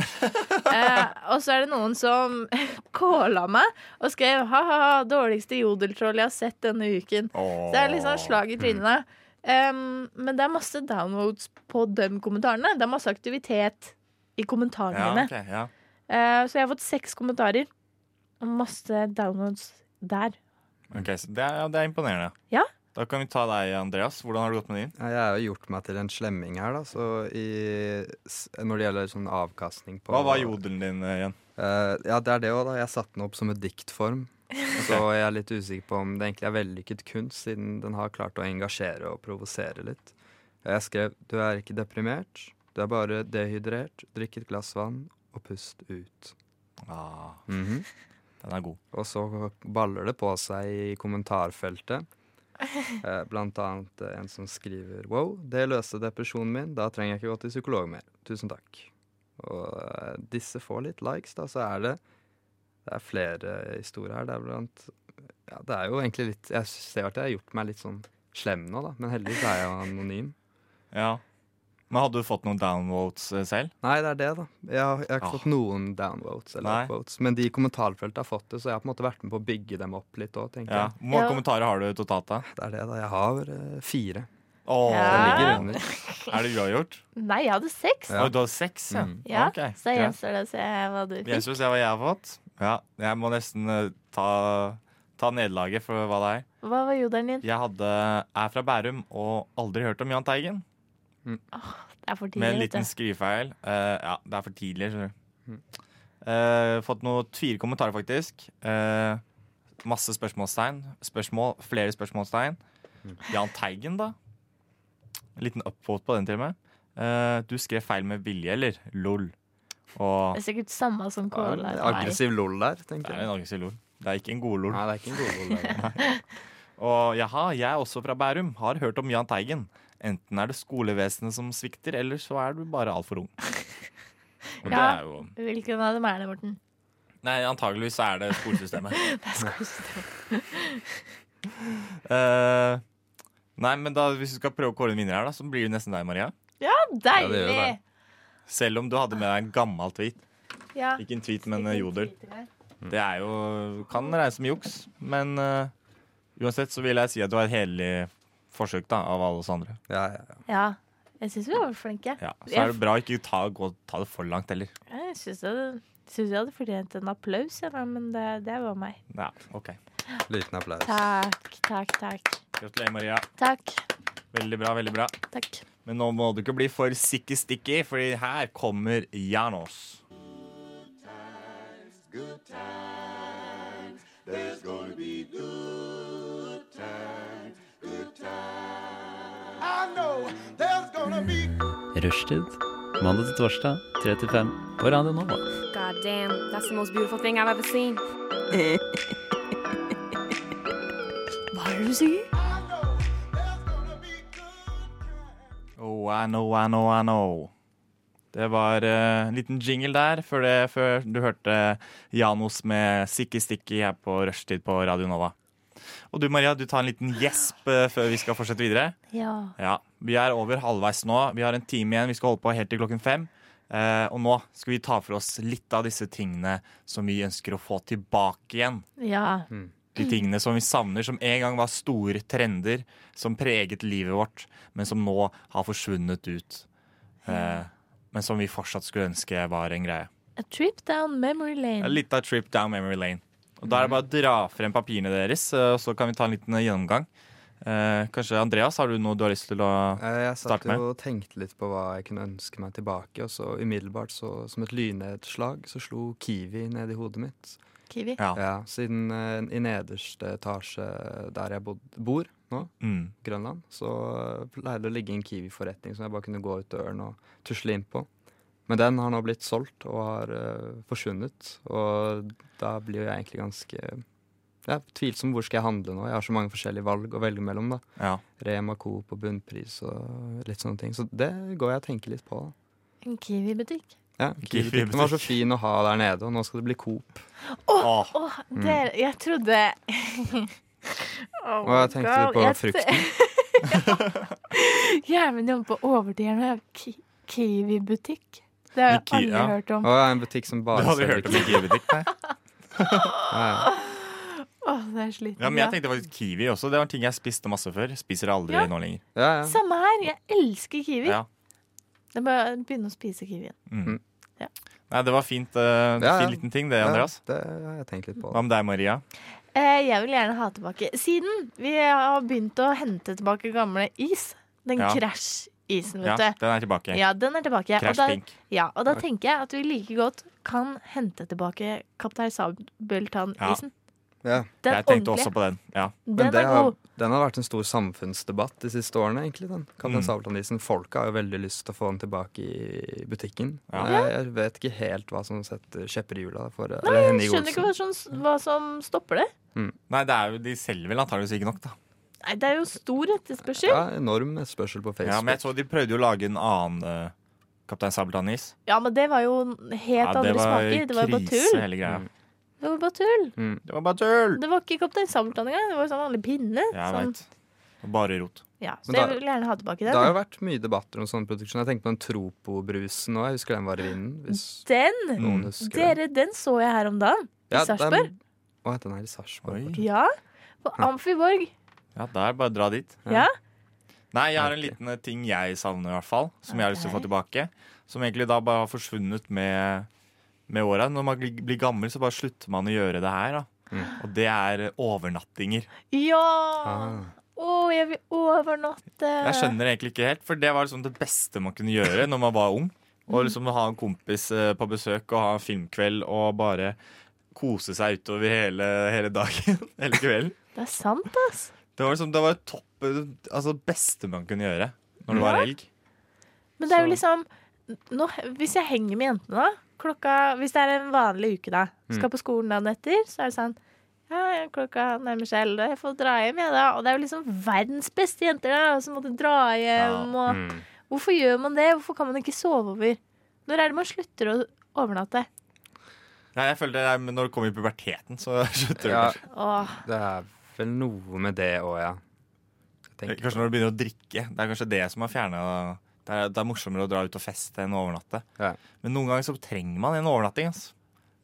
eh, og så er det noen som kåla meg og skrev ha-ha, dårligste jodeltroll jeg har sett denne uken. Så det er litt sånn slag i
Mm.
trynene. Um, men det er masse downloads på de kommentarene. Det er masse aktivitet i kommentarene
Ja,
mine.
ok, ja.
Eh, så jeg har fått seks kommentarer og masse downloads der.
Ok, så det, er, ja, det er imponerende.
Ja.
Da kan vi ta deg, Andreas. Hvordan har det gått med din?
Ja, Jeg har jo gjort meg til en slemming her, da. Så i, s- når det gjelder sånn avkastning på
Hva var jodelen din eh, igjen?
Eh, ja, det er det òg, da. Jeg satte den opp som et diktform. Så jeg er litt usikker på om det egentlig er vellykket kunst, siden den har klart å engasjere og provosere litt. Jeg skrev 'Du er ikke deprimert, du er bare dehydrert. Drikk et glass vann og pust ut'.
Ah,
Mhm.
den er god.
Og så baller det på seg i kommentarfeltet. Eh, Blant annet eh, en som skriver Wow, det løste depresjonen min. Da trenger jeg ikke gå til psykolog mer. Tusen takk. Og eh, disse får litt likes, da. Så er det Det er flere historier her. Det er blant Ja, det er jo egentlig litt Jeg ser at jeg har gjort meg litt sånn slem nå, da. Men heldigvis er jeg jo anonym.
Ja. Men hadde du fått noen downvotes eh, selv?
Nei, det er det, da. Jeg har, jeg har ikke
Ah.
fått noen downvotes
Nei.
eller upvotes. Men de i kommentarfeltet har fått det, så jeg har på en måte vært med på å bygge dem opp litt òg, tenker
Ja.
jeg.
Hvor mange
Ja.
kommentarer har du totalt, da?
Det er det, da. Jeg har eh, fire.
Åh,
Det
Ja.
ligger under.
Er det uavgjort?
Nei, jeg hadde seks.
Ja.
Oi, du har seks, ja?
Mm.
Ja,
Ok,
Så
greit.
gjenstår det å se hva du fikk.
Jeg skal se hva jeg har fått. Ja, jeg må nesten eh, ta, ta nederlaget for hva det er.
Hva var jodelen din?
Jeg hadde, er fra Bærum og aldri hørt om Jahn Teigen.
Det er for
Med en
tidlig. vet
liten
du.
skrivefeil. Eh, ja, det er for tidlig. skjønner du. Mm. Eh, fått noe tvile kommentarer, faktisk. Eh, masse spørsmålstegn. Spørsmål, flere spørsmålstegn. Jahn Teigen, da? En liten upvote på den, til og med. Eh, du skrev feil med vilje, eller? Lol. Og
Det er sikkert samme som
Det er en
kåla.
Aggressiv lol der,
det
tenker
er
jeg.
en aggressiv lol. Det er ikke en god lol.
Nei, det er ikke en god lol. der.
Og jaha, jeg er også fra Bærum, har hørt om Jahn Teigen. Enten er det skolevesenet som svikter, eller så er du bare altfor ung. Og det
Ja.
er jo
Hvilken av dem er det, Morten?
Nei, antageligvis er det skolesystemet.
Det er skolesystemet.
Eh, nei, men da, hvis du skal prøve å kåre en vinner her, da, så blir det nesten deg, Maria.
Ja, det gjør
Deilig!
det.
Selv om du hadde med deg en gammel tweet.
Ja.
Ikke en tweet, men eh, jodel. Det er jo Kan regne som juks, men eh, uansett så vil jeg si at det var et hederlig forsøk da, av alle oss andre.
Ja, ja, ja.
ja. Jeg syns vi var flinke.
Ja, så er det bra å ikke ta, gå, ta det for langt heller.
Jeg syns jeg, synes jeg hadde fortjent en applaus, jeg, da, men det, det var meg.
Ja, ok.
Liten applaus.
Takk, takk, takk.
Gratulerer, Maria.
Takk.
Veldig bra, veldig bra.
takk.
Men nå må du ikke bli for sikki-stikki, Fordi her kommer Janos.
Rushtid. Mandag til torsdag, 3 til 5 på Radio Nova.
God damn, that's the most beautiful thing I've ever seen.
Oh, I know, I know, I know. Det var eh, en liten jingle der før, det, før du hørte eh, Janos med sikki-stikki her på rushtid på Radio Nova. Og du Maria, du tar en liten gjesp eh, før vi skal fortsette videre.
Ja.
Ja, Vi er over halvveis nå. Vi har en time igjen. Vi skal holde på helt til klokken fem. Eh, og nå skal vi ta for oss litt av disse tingene som vi ønsker å få tilbake igjen.
Ja.
De tingene som vi savner, som en gang var store trender som preget livet vårt, men som nå har forsvunnet ut. Eh, men som vi fortsatt skulle ønske var en greie.
A trip down memory
Ja,
lane.
Litt av trip down memory lane. Og Da er det bare å dra frem papirene deres, eh, og så kan vi ta en liten gjennomgang. Eh, kanskje Andreas, har du noe du har lyst til å
Eh, Jeg
Start
satt
med.
jo og tenkte litt på hva jeg kunne ønske meg tilbake, og så umiddelbart, så, som et lynnedslag, så slo Kiwi ned i hodet mitt.
Kiwi.
Ja.
Ja, Siden eh, i nederste etasje der jeg bod, bor nå,
Mm.
Grønland, så pleide det å ligge en Kiwi-forretning som jeg bare kunne gå ut døren og tusle inn på. Men den har nå blitt solgt og har eh, forsvunnet, og da blir jo jeg egentlig ganske ja, tvilsom. Hvor skal jeg handle nå? Jeg har så mange forskjellige valg å velge mellom. da.
Ja.
Rema, Coop og bunnpris og litt sånne ting. Så det går jeg og tenker litt på. da.
En Kiwi-butikk.
Ja,
Kiwi-butikk.
Den var så fin å ha der nede, og nå skal det bli Coop.
Åh, Mm.
Åh, dere, jeg trodde oh
Og jeg tenkte litt på frukten.
Hjernen min jobber på overtid her nå. Ki- Kiwi-butikk. Det har jeg
Miki-
aldri
ja.
hørt om.
Og det er en butikk som
Du
bare
hadde hørt om en kiwi-dikt, altså, nei?
Ja,
Åh, det er slitsomt.
Ja, men jeg tenkte faktisk kiwi også. Det var en ting jeg spiste masse før. Spiser aldri
Ja.
nå lenger.
ja. ja, ja.
Samme her. Jeg elsker kiwi.
Ja.
Jeg må begynne å spise kiwien.
Mm.
Mm.
Ja.
Nei, det var fint, eh,
Ja, ja.
fin liten ting det, Andreas.
Ja, det har jeg tenkt litt på.
Hva med deg, Maria?
Eh, jeg vil gjerne ha tilbake Siden vi har begynt å hente tilbake gamle is. Den
Ja.
krasj-isen,
Ja,
vet du.
den er tilbake.
Ja, den er tilbake. Og
Crash
da,
Pink.
ja, og da tenker jeg at vi like godt kan hente tilbake Kaptein Sabeltann-isen.
Ja.
Den
Jeg tenkte også
ordentlige.
på den. Ja.
Men
Den er
det har,
god.
den har vært en stor samfunnsdebatt de siste årene, egentlig. den. Kaptein
Mm.
Sabeltann-isen. Folket har jo veldig lyst til å få den tilbake i butikken.
Ja.
Jeg, jeg vet ikke helt hva som setter kjepper i hjula for eh, Nei,
Jeg skjønner ikke hva som, hva som stopper det.
Nei, det er jo, de selger vel antakeligvis ikke nok, da.
Nei, det er jo stor etterspørsel.
Ja, enorm etterspørsel på Facebook.
Ja, men jeg så de prøvde jo å lage en annen eh, Kaptein Sabeltann-is.
Ja, men det var jo helt andre smaker. Det var jo bare tull.
hele greia.
Mm.
Det var bare tull.
Mm.
Det var bare tull!
Det var ikke Kaptein Sabeltann engang. Det var jo sånn vanlig pinne.
Jeg
sånn.
veit. Bare rot.
Ja, så
Men da-
jeg vil gjerne ha tilbake
Det har
den.
jo vært mye debatter om sånne produksjoner. Jeg tenkte på den Tropo-brusen òg. Jeg husker den var i vinden. Hvis
Den!
noen husker
Mm. Dere, den så jeg her om dagen. I
Ja, den-
Sarpsborg.
Å, heter den her i Sarpsborg?
Oi.
Ja. På Amfiborg.
Ja, da er det bare å dra dit.
Ja.
Nei, jeg har en liten eh, ting jeg savner, i hvert fall. Som jeg har lyst til å få
Ok.
tilbake. Som egentlig da bare har forsvunnet med, med åra. Når man blir blir gammel, så bare slutter man å gjøre det her, da.
Mm.
Og det er eh, overnattinger.
Ja!
Ah.
Å, jeg vil overnatte.
Jeg skjønner det egentlig ikke helt, for det var liksom det beste man kunne gjøre når man var ung. Å liksom ha en kompis eh, på besøk og ha en filmkveld og bare kose seg utover hele, hele dagen. Hele kvelden.
Det er sant, ass.
Det var liksom, det var topp, altså det beste man kunne gjøre når det var helg.
Men det er jo
Så-
liksom nå, Hvis jeg henger med jentene, da klokka, Hvis det er en vanlig uke, da. Skal på skolen dagen etter, så er det sånn ja, ja, klokka nærmer seg elleve, jeg får dra hjem, jeg, da. Og det er jo liksom verdens beste jenter, da, som måtte dra hjem og
Mm.
Hvorfor gjør man det? Hvorfor kan man ikke sove over? Når er det man slutter å overnatte?
Nei, jeg føler det er, men Når du kommer i puberteten, så slutter du
Ja,
kanskje.
Åh,
det er vel noe med det òg, ja. Jeg tenker-
Kanskje når du begynner å drikke. Det er kanskje det som har fjerna det, er- det er morsommere å dra ut og feste enn å overnatte.
Ja.
Men noen ganger så trenger man en overnatting. Altså.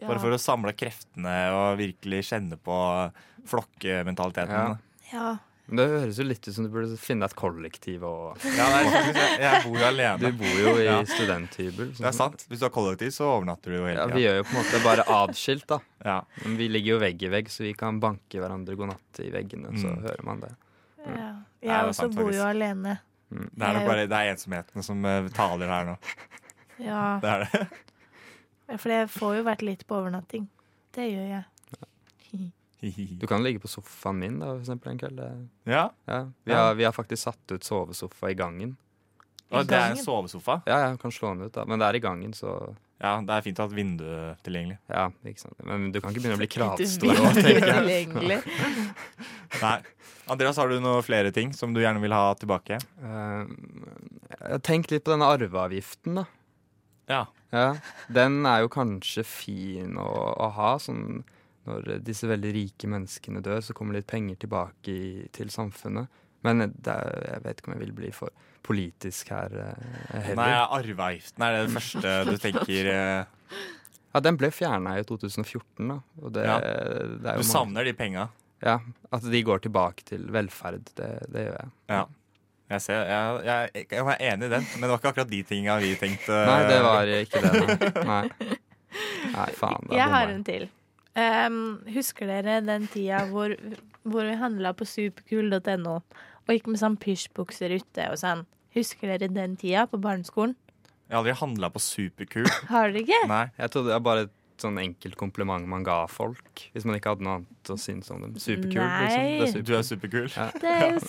ja.
Bare for å samle kreftene og virkelig kjenne på
Ja.
flokkementaliteten.
ja.
Men det høres jo litt ut som du burde finne deg et kollektiv og
Ja, nei, faktisk, jeg, jeg bor jo
Du
alene.
bor jo i
Ja.
studenthybel.
Det er sant. Hvis du har kollektiv, så overnatter du jo
Ja,
hele
vi
tida.
gjør jo på en måte bare adskilt, da.
Ja.
Men vi ligger jo vegg i vegg, så vi kan banke hverandre god natt i veggene, så
Mm.
hører man det.
ja.
det er
Jeg også
sant,
bor
faktisk.
jo alene.
Det er nok bare det er ensomheten som eh, taler her nå.
Ja.
Det er det.
For jeg får jo vært litt på overnatting. Det gjør jeg.
Du kan ligge på sofaen min da, for eksempel, en kveld. Det-
Ja,
Ja. Vi,
Ja.
har, vi har faktisk satt ut sovesofa i gangen.
og Det er en
gangen.
sovesofa.
Ja, ja, kan slå den ut, da. Men det er i gangen, så
Ja, Det er fint å ha et vindu tilgjengelig.
ja, ikke sant. Men du kan ikke begynne å bli
Du
kravstor.
vil jo
nå, tenker jeg.
tilgjengelig.
Nei. Andreas, har du noen flere ting som du gjerne vil ha tilbake?
Eh, Jeg har tenkt litt på denne arveavgiften, da.
Ja.
Ja, Den er jo kanskje fin å, å ha. Sånn, når disse veldig rike menneskene dør, så kommer litt penger tilbake i, til samfunnet. Men det er, jeg vet ikke om jeg vil bli for politisk her eh,
Nei,
heller.
arveavgiften er det første du tenker eh,
Ja, Den ble fjerna i 2014, da. Og det,
Ja.
det er
Du
jo mange,
savner de penga.
ja, At de går tilbake til velferd. Det, det gjør jeg.
Ja. Jeg, ser, jeg, jeg, jeg var enig i den, men det var ikke akkurat de tinga vi tenkte. eh,
Nei, det var ikke det. Nei, nei. nei faen. Da
Jeg har
bomma
en til. Ehm, husker dere den tida hvor, hvor vi handla på superkul.no og gikk med sånn pysjbukser ute og sånn? Husker dere den tida på barneskolen?
Jeg har aldri handla på Superkul.
Har dere ikke?
Nei.
Jeg trodde det var bare et sånn enkelt kompliment man ga folk. Hvis man ikke hadde noe annet å synes om dem. Superkul, liksom.
Nei.
Det er
Du er
superkul.
superkul.
Ja.
Det er jo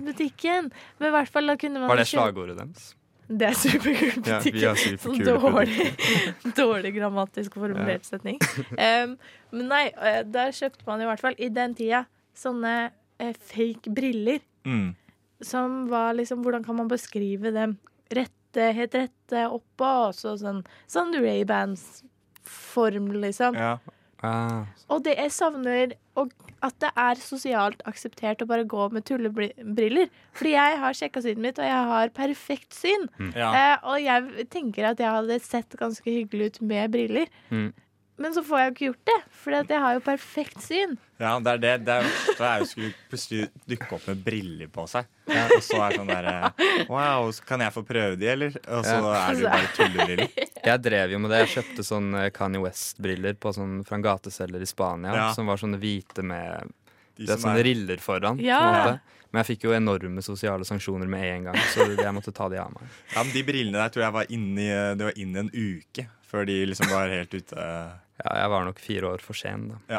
Superkult-butikken. Men i hvert fall da kunne man
Var det
kjøpe-
slagordet deres?
Det er Superkult-butikken.
Ja, vi er
sånn
superkule
dårlig, dårlig grammatisk formulert setning. Em, men nei, eh, da kjøpte man i hvert fall i den tida sånne eh, fake briller
Mm.
som var liksom Hvordan kan man beskrive dem? Rette, helt rette oppå, og så sånn, sånn Ray-Bans-form, liksom.
Ja.
Ah,
Og det jeg savner og at det er sosialt akseptert å bare gå med tullebriller. Fordi jeg har sjekka synet mitt, og jeg har perfekt syn.
Mm.
Eh, og jeg tenker at jeg hadde sett ganske hyggelig ut med briller.
Mm.
Men så får jeg jo ikke gjort det, for jeg har jo perfekt syn.
Ja, det er det. Det er jo- det er jo skulle plutselig dukke opp med briller på seg. Og så er det sånn derre Wow, kan jeg få prøve de, eller? Og så er det jo bare tullebriller.
Jeg drev jo med det. Jeg kjøpte sånn eh, Kanye West-briller på sånn, fra en gateselger i Spania.
Ja.
Som var sånne hvite med
De
det er
som
sånne
er
riller foran. på en
Ja.
måte. Men jeg fikk jo enorme sosiale sanksjoner med en gang, så jeg måtte ta de av meg.
Ja, men De brillene der tror jeg var inni Det var inni en uke før de liksom var helt ute.
Ja, jeg var nok fire år for sen, da.
Ja.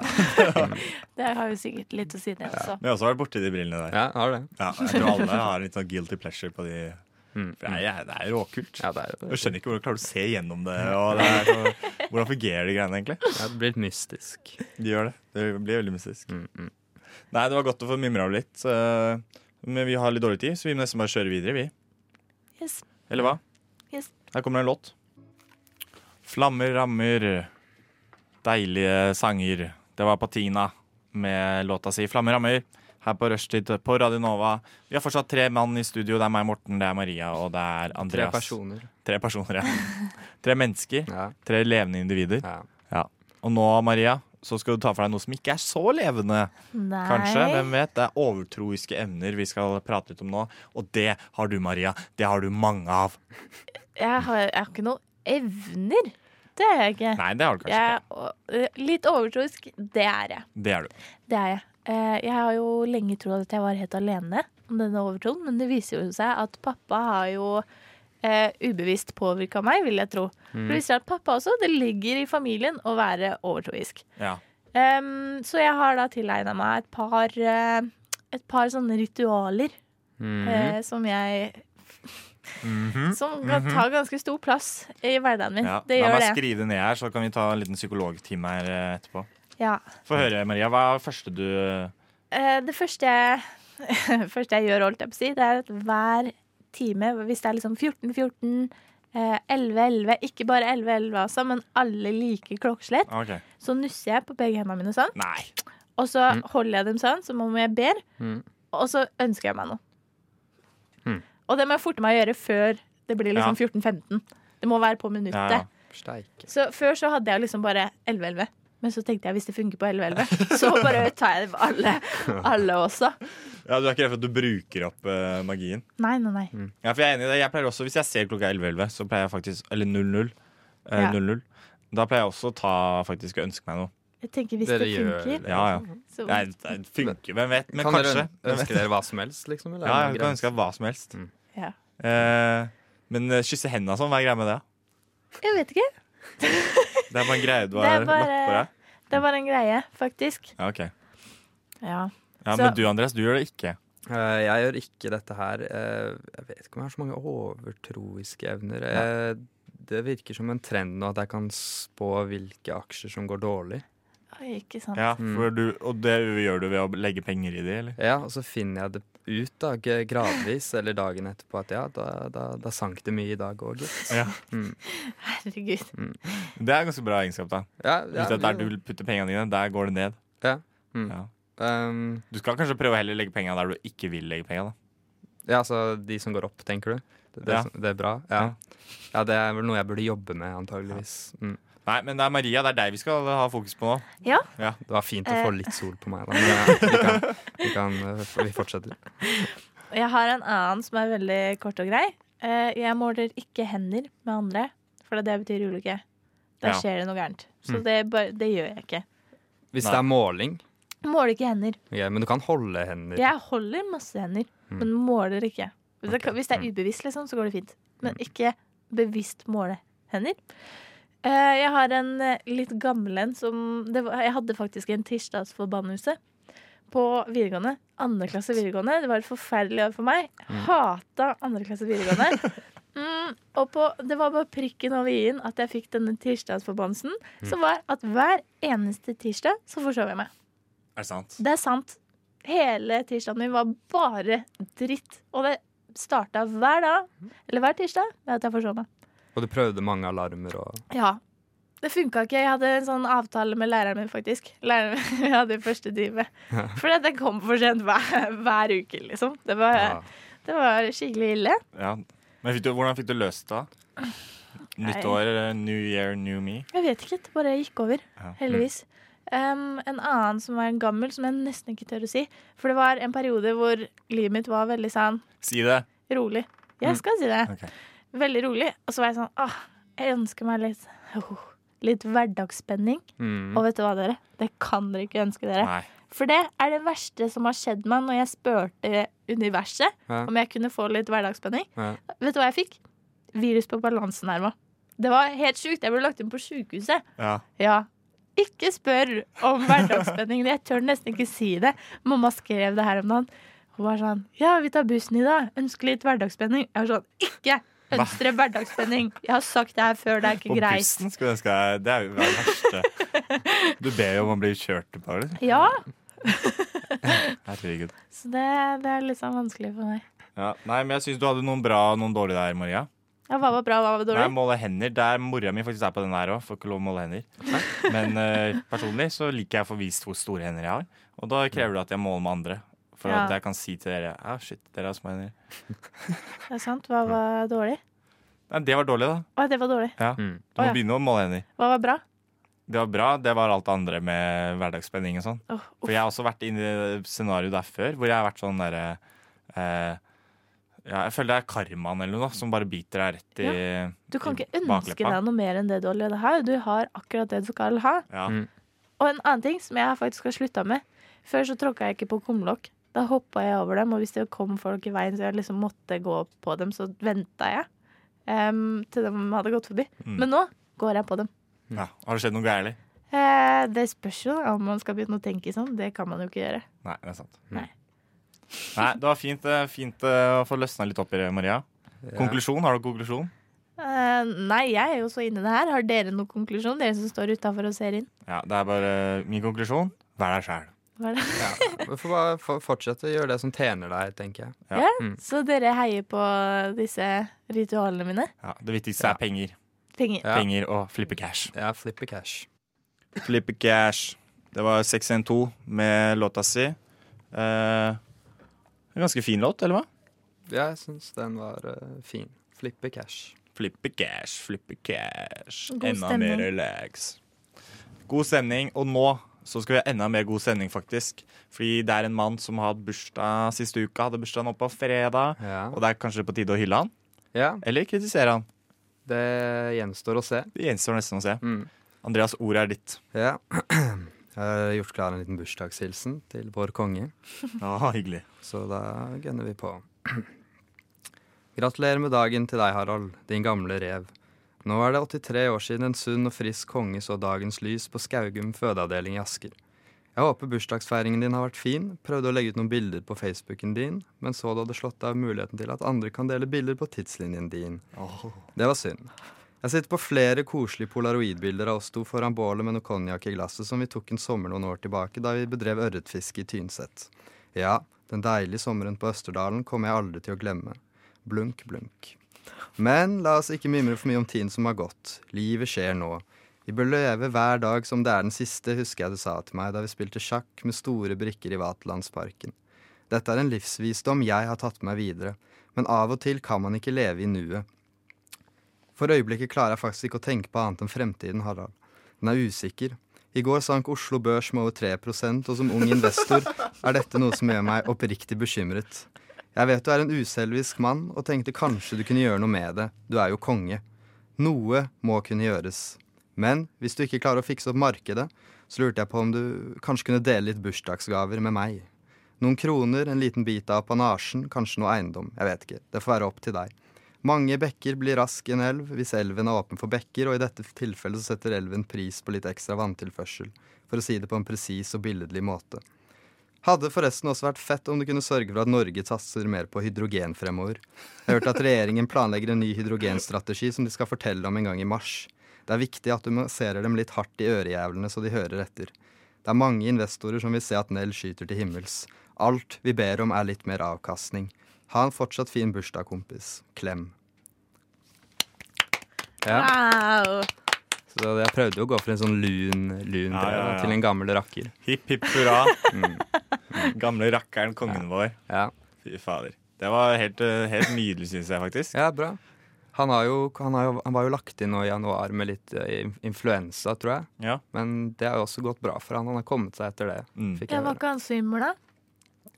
Det har jo sikkert litt å si, det også.
Men jeg har også vært borti de brillene der.
Ja, har det.
Ja, jeg tror alle har litt sånn guilty pleasure på de.
Mm.
For det er, det er råkult.
Ja, det, er, jo-
Jeg skjønner ikke hvordan klarer du å se gjennom det. Og det er så, hvordan fungerer de greiene egentlig?
ja, det blir litt mystisk.
De gjør det. Det blir veldig mystisk.
Mm, mm.
Nei, det var godt å få mimra av litt. så- eh, Men vi har litt dårlig tid, så vi må nesten bare kjøre videre, vi.
Yes.
Eller hva?
Yes.
Her kommer det en låt. Flammer rammer, deilige sanger. Det var Patina med låta si 'Flammer rammer' her på Rushtid på Radio Nova. Vi har fortsatt tre mann i studio. Det er meg, Morten, det er Maria og det er
Tre
Andreas.
personer.
Tre personer, ja. Tre mennesker.
Ja,
Tre levende individer.
ja.
Og nå, Maria, så skal du ta for deg noe som ikke er så levende.
Nei.
Kanskje, hvem vet. Det er overtroiske emner vi skal prate litt om nå. Og det har du, Maria. Det har du mange av.
Jeg har, jeg har ikke noen evner. Det har jeg ikke.
Nei, det har du kanskje
Jeg,
ikke.
er- eh, litt overtroisk, det er jeg.
Det er du.
Det er jeg. Eh, Jeg har jo lenge trodd at jeg var helt alene om denne overtroen, men det viser jo seg at pappa har jo eh, ubevisst påvirka meg, vil jeg tro.
Mm.
For det viser seg at pappa også, det ligger i familien å være overtroisk.
Ja.
Em, så jeg har da tilegna meg et par, eh, et par sånne ritualer
Mm.
Mhm.
eh, som jeg Som kan ta ganske stor plass i hverdagen min.
Mhm. Ja.
Eh, Det
La meg
gjør det.
skrive det ned her, så kan vi ta en liten psykologtime her eh, etterpå.
Ja.
Få høre, Maria. Hva er det første du
Eh, Det første jeg, første jeg gjør, holdt jeg på å si, det er at hver time, hvis det er liksom 14-14, eh, 11-11, ikke bare 11-11 altså, men alle like klokkeslett,
OK.
så nusser jeg på begge hendene mine sånn,
Nei.
og så holder jeg dem sånn som om jeg ber,
Mm.
og så ønsker jeg meg noe.
Mm.
Og det må jeg forte meg å gjøre før det blir liksom 14-15. Det må være på minuttet.
Ja, ja.
Eh, Steike.
Så før så hadde jeg liksom bare 11-11. Men så tenkte jeg hvis det funker på 11-11, så bare tar jeg det på alle, alle også.
Ja, Du er ikke redd for at du bruker opp eh, magien?
Nei, nei, nei.
Ja, for jeg er enig i det. Jeg pleier også, Hvis jeg ser klokka 11.11, så pleier jeg faktisk Eller 00. eh,
Ja.
00. Da pleier jeg også å ta faktisk og ønske meg noe.
Jeg tenker hvis
Dere
det
gjør-
funker,
Ja, ja.
så
Nei, det funker, hvem vet. Men
kan
kanskje.
dere ønske dere hva som helst, liksom? Eller?
Ja,
er
jeg
det
kan
grenser?
ønske meg hva som helst.
Mm.
Ja.
Eh, men eh, kysse hendene og sånn, hva er greia med det?
Jeg vet ikke.
Det er bare en greie du har
Det er
lagt på
bare,
deg?
det var en greie, faktisk.
Ja, ok.
Ja.
Ja,
Så-
Men du Andreas, du gjør det ikke.
Eh, Jeg gjør ikke dette her. Eh, Jeg vet ikke om jeg har så mange overtroiske evner. Eh, Det virker som en trend nå at jeg kan spå hvilke aksjer som går dårlig.
Oi, ikke sant.
Ja,
Mm.
for du, og det gjør du ved å legge penger i det, eller?
Ja, Og så finner jeg det ut da, g- gradvis eller dagen etterpå at ja, da, da, da sank det mye i dag òg, gitt.
Ja.
Mm.
Herregud.
Det er ganske bra egenskap, da.
Ja,
Hvis
ja,
det er der du putter pengene dine, der går det ned.
mm.
Ja.
Um,
Du skal kanskje prøve å heller legge pengene der du ikke vil legge pengene. da.
ja, altså de som går opp, tenker du? Det, det,
Ja.
som- det er bra? Ja. ja, det er vel noe jeg burde jobbe med, antageligvis. Mm.
Nei, men det er Maria, det er deg vi skal ha fokus på nå.
Det var fint å få litt sol på meg, da. Men ja, vi, kan, vi, kan, eh, f- vi fortsetter.
Jeg har en annen som er veldig kort og grei. Eh, Jeg måler ikke hender med andre, for det betyr ulykke. Da
Ja.
skjer det noe gærent. Så det, er bare, det gjør jeg ikke.
Hvis
Nei.
det er måling,
Jeg Måler ikke hender.
ok, men du kan holde hender.
Jeg holder masse hender, men måler ikke. Hvis det, hvis det er ubevisst, liksom, så går det fint. Men ikke bevisst måle hender. Eh, Jeg har en eh, litt gammel en som det var, Jeg hadde faktisk en tirsdagsforbannelse på videregående. Andre klasse videregående. Det var et forferdelig år for meg. Hata andre klasse videregående. Mm, og på, det var bare prikken over i-en at jeg fikk denne tirsdagsforbannelsen. Som var at hver eneste tirsdag så forsov jeg meg.
Er det sant?
Det er sant. Hele tirsdagen min var bare dritt. Og det starta hver dag, eller hver tirsdag, med at jeg forsov meg.
Og du prøvde mange alarmer og
Ja. Det funka ikke. Jeg hadde en sånn avtale med læreren min, faktisk. Læreren min jeg hadde i første time. For det kom for sent hver, hver uke, liksom. Det var,
Ja.
det var skikkelig ille.
Ja. Men fikk du, hvordan fikk du løst det? da? Nytt
Nei.
år, eh, new year, new me.
Jeg vet ikke. Det bare gikk over.
Ja.
Heldigvis. Um, en annen som var en gammel, som jeg nesten ikke tør å si. For det var en periode hvor livet mitt var veldig sånn
Si det.
rolig.
Mm.
Jeg skal si det.
Ok.
Veldig rolig. Og så var jeg sånn Åh, jeg ønsker meg litt oh, Litt hverdagsspenning.
Mm.
Og vet du hva, dere? Det kan dere ikke ønske dere.
Nei.
For det er det verste som har skjedd meg når jeg spurte universet
Ja.
om jeg kunne få litt hverdagsspenning.
Ja.
Vet du hva jeg fikk? Virus på balansenerva. Det var helt sjukt. Jeg ble lagt inn på sjukehuset.
Ja.
Ja. Ikke spør om hverdagsspenning. Jeg tør nesten ikke si det. Mamma skrev det her om dagen. Hun var sånn Ja, vi tar bussen i dag. Ønsker litt hverdagsspenning. Jeg var sånn Ikke! Ønsker hverdagsspenning. Jeg har sagt det her før. Det er
På
ikke greit.
bussen skulle jeg ønske deg Det er jo det verste. Du ber jo om å bli kjørt på, eller?
Ja.
Herregud.
Så det, det er litt sånn vanskelig for meg.
Ja. Nei, men jeg syns du hadde noen bra og noen dårlige der, Maria.
Ja, hva var bra, hva var
Nei,
dårlig?
måle hender. Der mora mi faktisk er på den her òg. Får ikke lov å måle hender. Men eh, personlig så liker jeg å få vist hvor store hender jeg har. Og da krever det at jeg måler med andre. For
Ja.
at jeg kan si til dere Ja, shit, dere har små hender.
Det er sant. Hva var dårlig?
Nei, det var dårlig, da.
Å, det var dårlig.
Mm.
Du må
Å, ja.
begynne å måle hender.
Hva var bra?
Det var bra. Det var alt det andre med hverdagsspenning og sånn.
Åh,
For jeg har også vært inne i det scenarioet der før, hvor jeg har vært sånn derre eh, ja, Jeg føler det er karmaen eller noe da, som bare biter deg rett i
du kan
i
ikke ønske
bakleppa.
deg noe mer enn det du allerede har. Du har akkurat det du skal ha.
Ja.
Mm.
Og en annen ting som jeg faktisk har slutta med. Før så tråkka jeg ikke på kumlokk. Da hoppa jeg over dem, og hvis det kom folk i veien, så jeg liksom måtte gå på dem, så venta jeg em, til de hadde gått forbi.
Mm.
Men nå går jeg på dem.
ja. Har det skjedd noe gærent?
Eh, det spørs jo om man skal begynne å tenke sånn. Det kan man jo ikke gjøre.
Nei, det er sant.
Nei.
Nei, det var fint, eh, fint eh, å få løsna litt opp i det, Maria. Konklusjon? Har du konklusjon?
Eh, nei, jeg er jo så inni det her. Har dere noen konklusjon, dere som står utafor og ser inn?
Ja, det er bare eh, min konklusjon. Vær deg sjæl.
Hva er det?
Du får bare for- fortsette å gjøre det som tjener deg, tenker jeg.
Ja.
Ja,
Mm.
Så dere heier på disse ritualene mine?
Ja, det viktigste
Ja.
er penger.
Penger.
Ja.
Penger og flippe cash.
Ja, flippe cash.
Flippe cash. Det var 612 med låta si. en ganske fin låt, eller hva?
Ja, jeg syns den var eh, fin. Flippe cash.
Flippe cash, flippe cash.
God
enda
stemning.
mer relax. God stemning. Og nå så skal vi ha enda mer god stemning, faktisk. Fordi det er en mann som har hatt bursdag siste uka. Hadde bursdag nå på fredag.
Ja.
Og det er kanskje på tide å hylle han,
ja,
eller kritisere han.
det gjenstår å se.
Det gjenstår nesten å se.
Mm.
Andreas, ordet er ditt.
Ja. Jeg har gjort klar en liten bursdagshilsen til vår konge,
Ah, hyggelig.
så da gønner vi på. Gratulerer med dagen til deg, Harald, din gamle rev. Nå er det 83 år siden en sunn og frisk konge så dagens lys på Skaugum fødeavdeling i Asker. Jeg håper bursdagsfeiringen din har vært fin. Prøvde å legge ut noen bilder på Facebooken din, men så du hadde slått av muligheten til at andre kan dele bilder på tidslinjen din. Det var synd. Jeg sitter på flere koselige polaroidbilder av oss to foran bålet med noe konjakk i glasset som vi tok en sommer noen år tilbake da vi bedrev ørretfiske i Tynset. Ja, den deilige sommeren på Østerdalen kommer jeg aldri til å glemme. Blunk, blunk. Men la oss ikke mimre for mye om tiden som har gått. Livet skjer nå. Vi bør leve hver dag som det er den siste, husker jeg du sa til meg da vi spilte sjakk med store brikker i Vaterlandsparken. Dette er en livsvisdom jeg har tatt med meg videre, men av og til kan man ikke leve i nuet. For øyeblikket klarer jeg faktisk ikke å tenke på annet enn fremtiden, Harald. Den er usikker. I går sank Oslo Børs med over 3 og som ung investor er dette noe som gjør meg oppriktig bekymret. Jeg vet du er en uselvisk mann, og tenkte kanskje du kunne gjøre noe med det. Du er jo konge. Noe må kunne gjøres. Men hvis du ikke klarer å fikse opp markedet, så lurte jeg på om du kanskje kunne dele litt bursdagsgaver med meg. Noen kroner, en liten bit av apanasjen, kanskje noe eiendom. Jeg vet ikke. Det får være opp til deg. Mange bekker blir rask en elv hvis elven er åpen for bekker, og i dette tilfellet så setter elven pris på litt ekstra vanntilførsel, for å si det på en presis og billedlig måte. Hadde forresten også vært fett om du kunne sørge for at Norge satser mer på hydrogen fremover. Jeg har hørt at regjeringen planlegger en ny hydrogenstrategi som de skal fortelle om en gang i mars. Det er viktig at du masserer dem litt hardt i ørejævlene så de hører etter. Det er mange investorer som vil se at Nell skyter til himmels. Alt vi ber om er litt mer avkastning. Ha en fortsatt fin bursdag, kompis. Klem. Ja,
Wow!
så Så jeg prøvde jo å gå for en sånn lun, lun
Ja,
greie
ja,
da,
ja.
til en gammel rakker.
Hipp hipp hurra. Mm. Gamle rakkeren, kongen vår.
Mm. Ja,
Fy fader. Det var helt, eh, helt nydelig, syns jeg faktisk.
ja bra. Han, har jo, han, har jo, han var jo lagt inn nå i januar med litt eh, in- influensa, tror jeg.
Ja.
Men det har jo også gått bra for han. Han har kommet seg etter det.
Mm.
Fikk
Ja,
jeg
var
høre.
ikke han svimmel, da?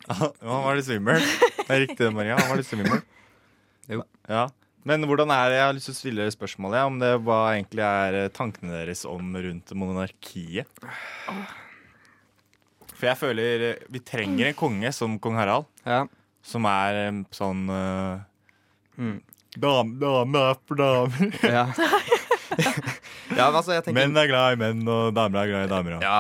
Han var litt svimmel. Det er riktig, Maria. Han var litt svimmel.
Jo.
Ja. Men hvordan er det, jeg har lyst til å stille spørsmålet om det hva egentlig er eh, tankene deres om rundt monarkiet? For jeg føler eh, vi trenger en konge som kong Harald,
Ja.
som er eh, sånn eh,
Mm.
Dame, dame er for damer.
Ja. ja, men altså, jeg tenker
Menn er glad i menn, og damer er glad i damer. Ja.
Ja.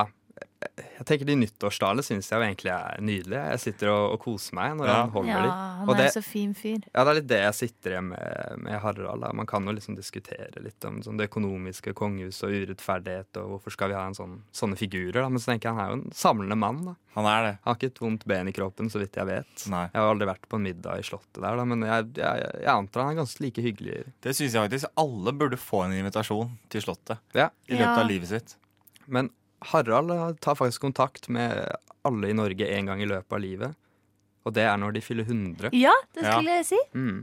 Jeg tenker De nyttårstalene syns jeg jo egentlig er nydelige. Jeg sitter og, og koser meg når
Ja.
han holder
Ja,
de.
han
Og
er
det-
jo så fin fyr.
Ja, det er litt det jeg sitter igjen med, med Harald. Da. Man kan jo liksom diskutere litt om sånn, det økonomiske kongehuset og urettferdighet, og hvorfor skal vi ha en sånn, sånne figurer, da. Men så tenker jeg han er jo en samlende mann, da.
Han er det.
Han har ikke et vondt ben i kroppen, så vidt jeg vet.
Nei.
Jeg har aldri vært på en middag i Slottet der, da, men jeg, jeg, jeg antar han er ganske like hyggelig.
Det syns jeg faktisk alle burde få en invitasjon til Slottet
Ja.
i løpet
Ja.
av livet sitt.
Men Harald eh, tar faktisk kontakt med alle i Norge en gang i løpet av livet, og det er når de fyller 100.
Ja, det
Ja.
skulle jeg si.
Mm.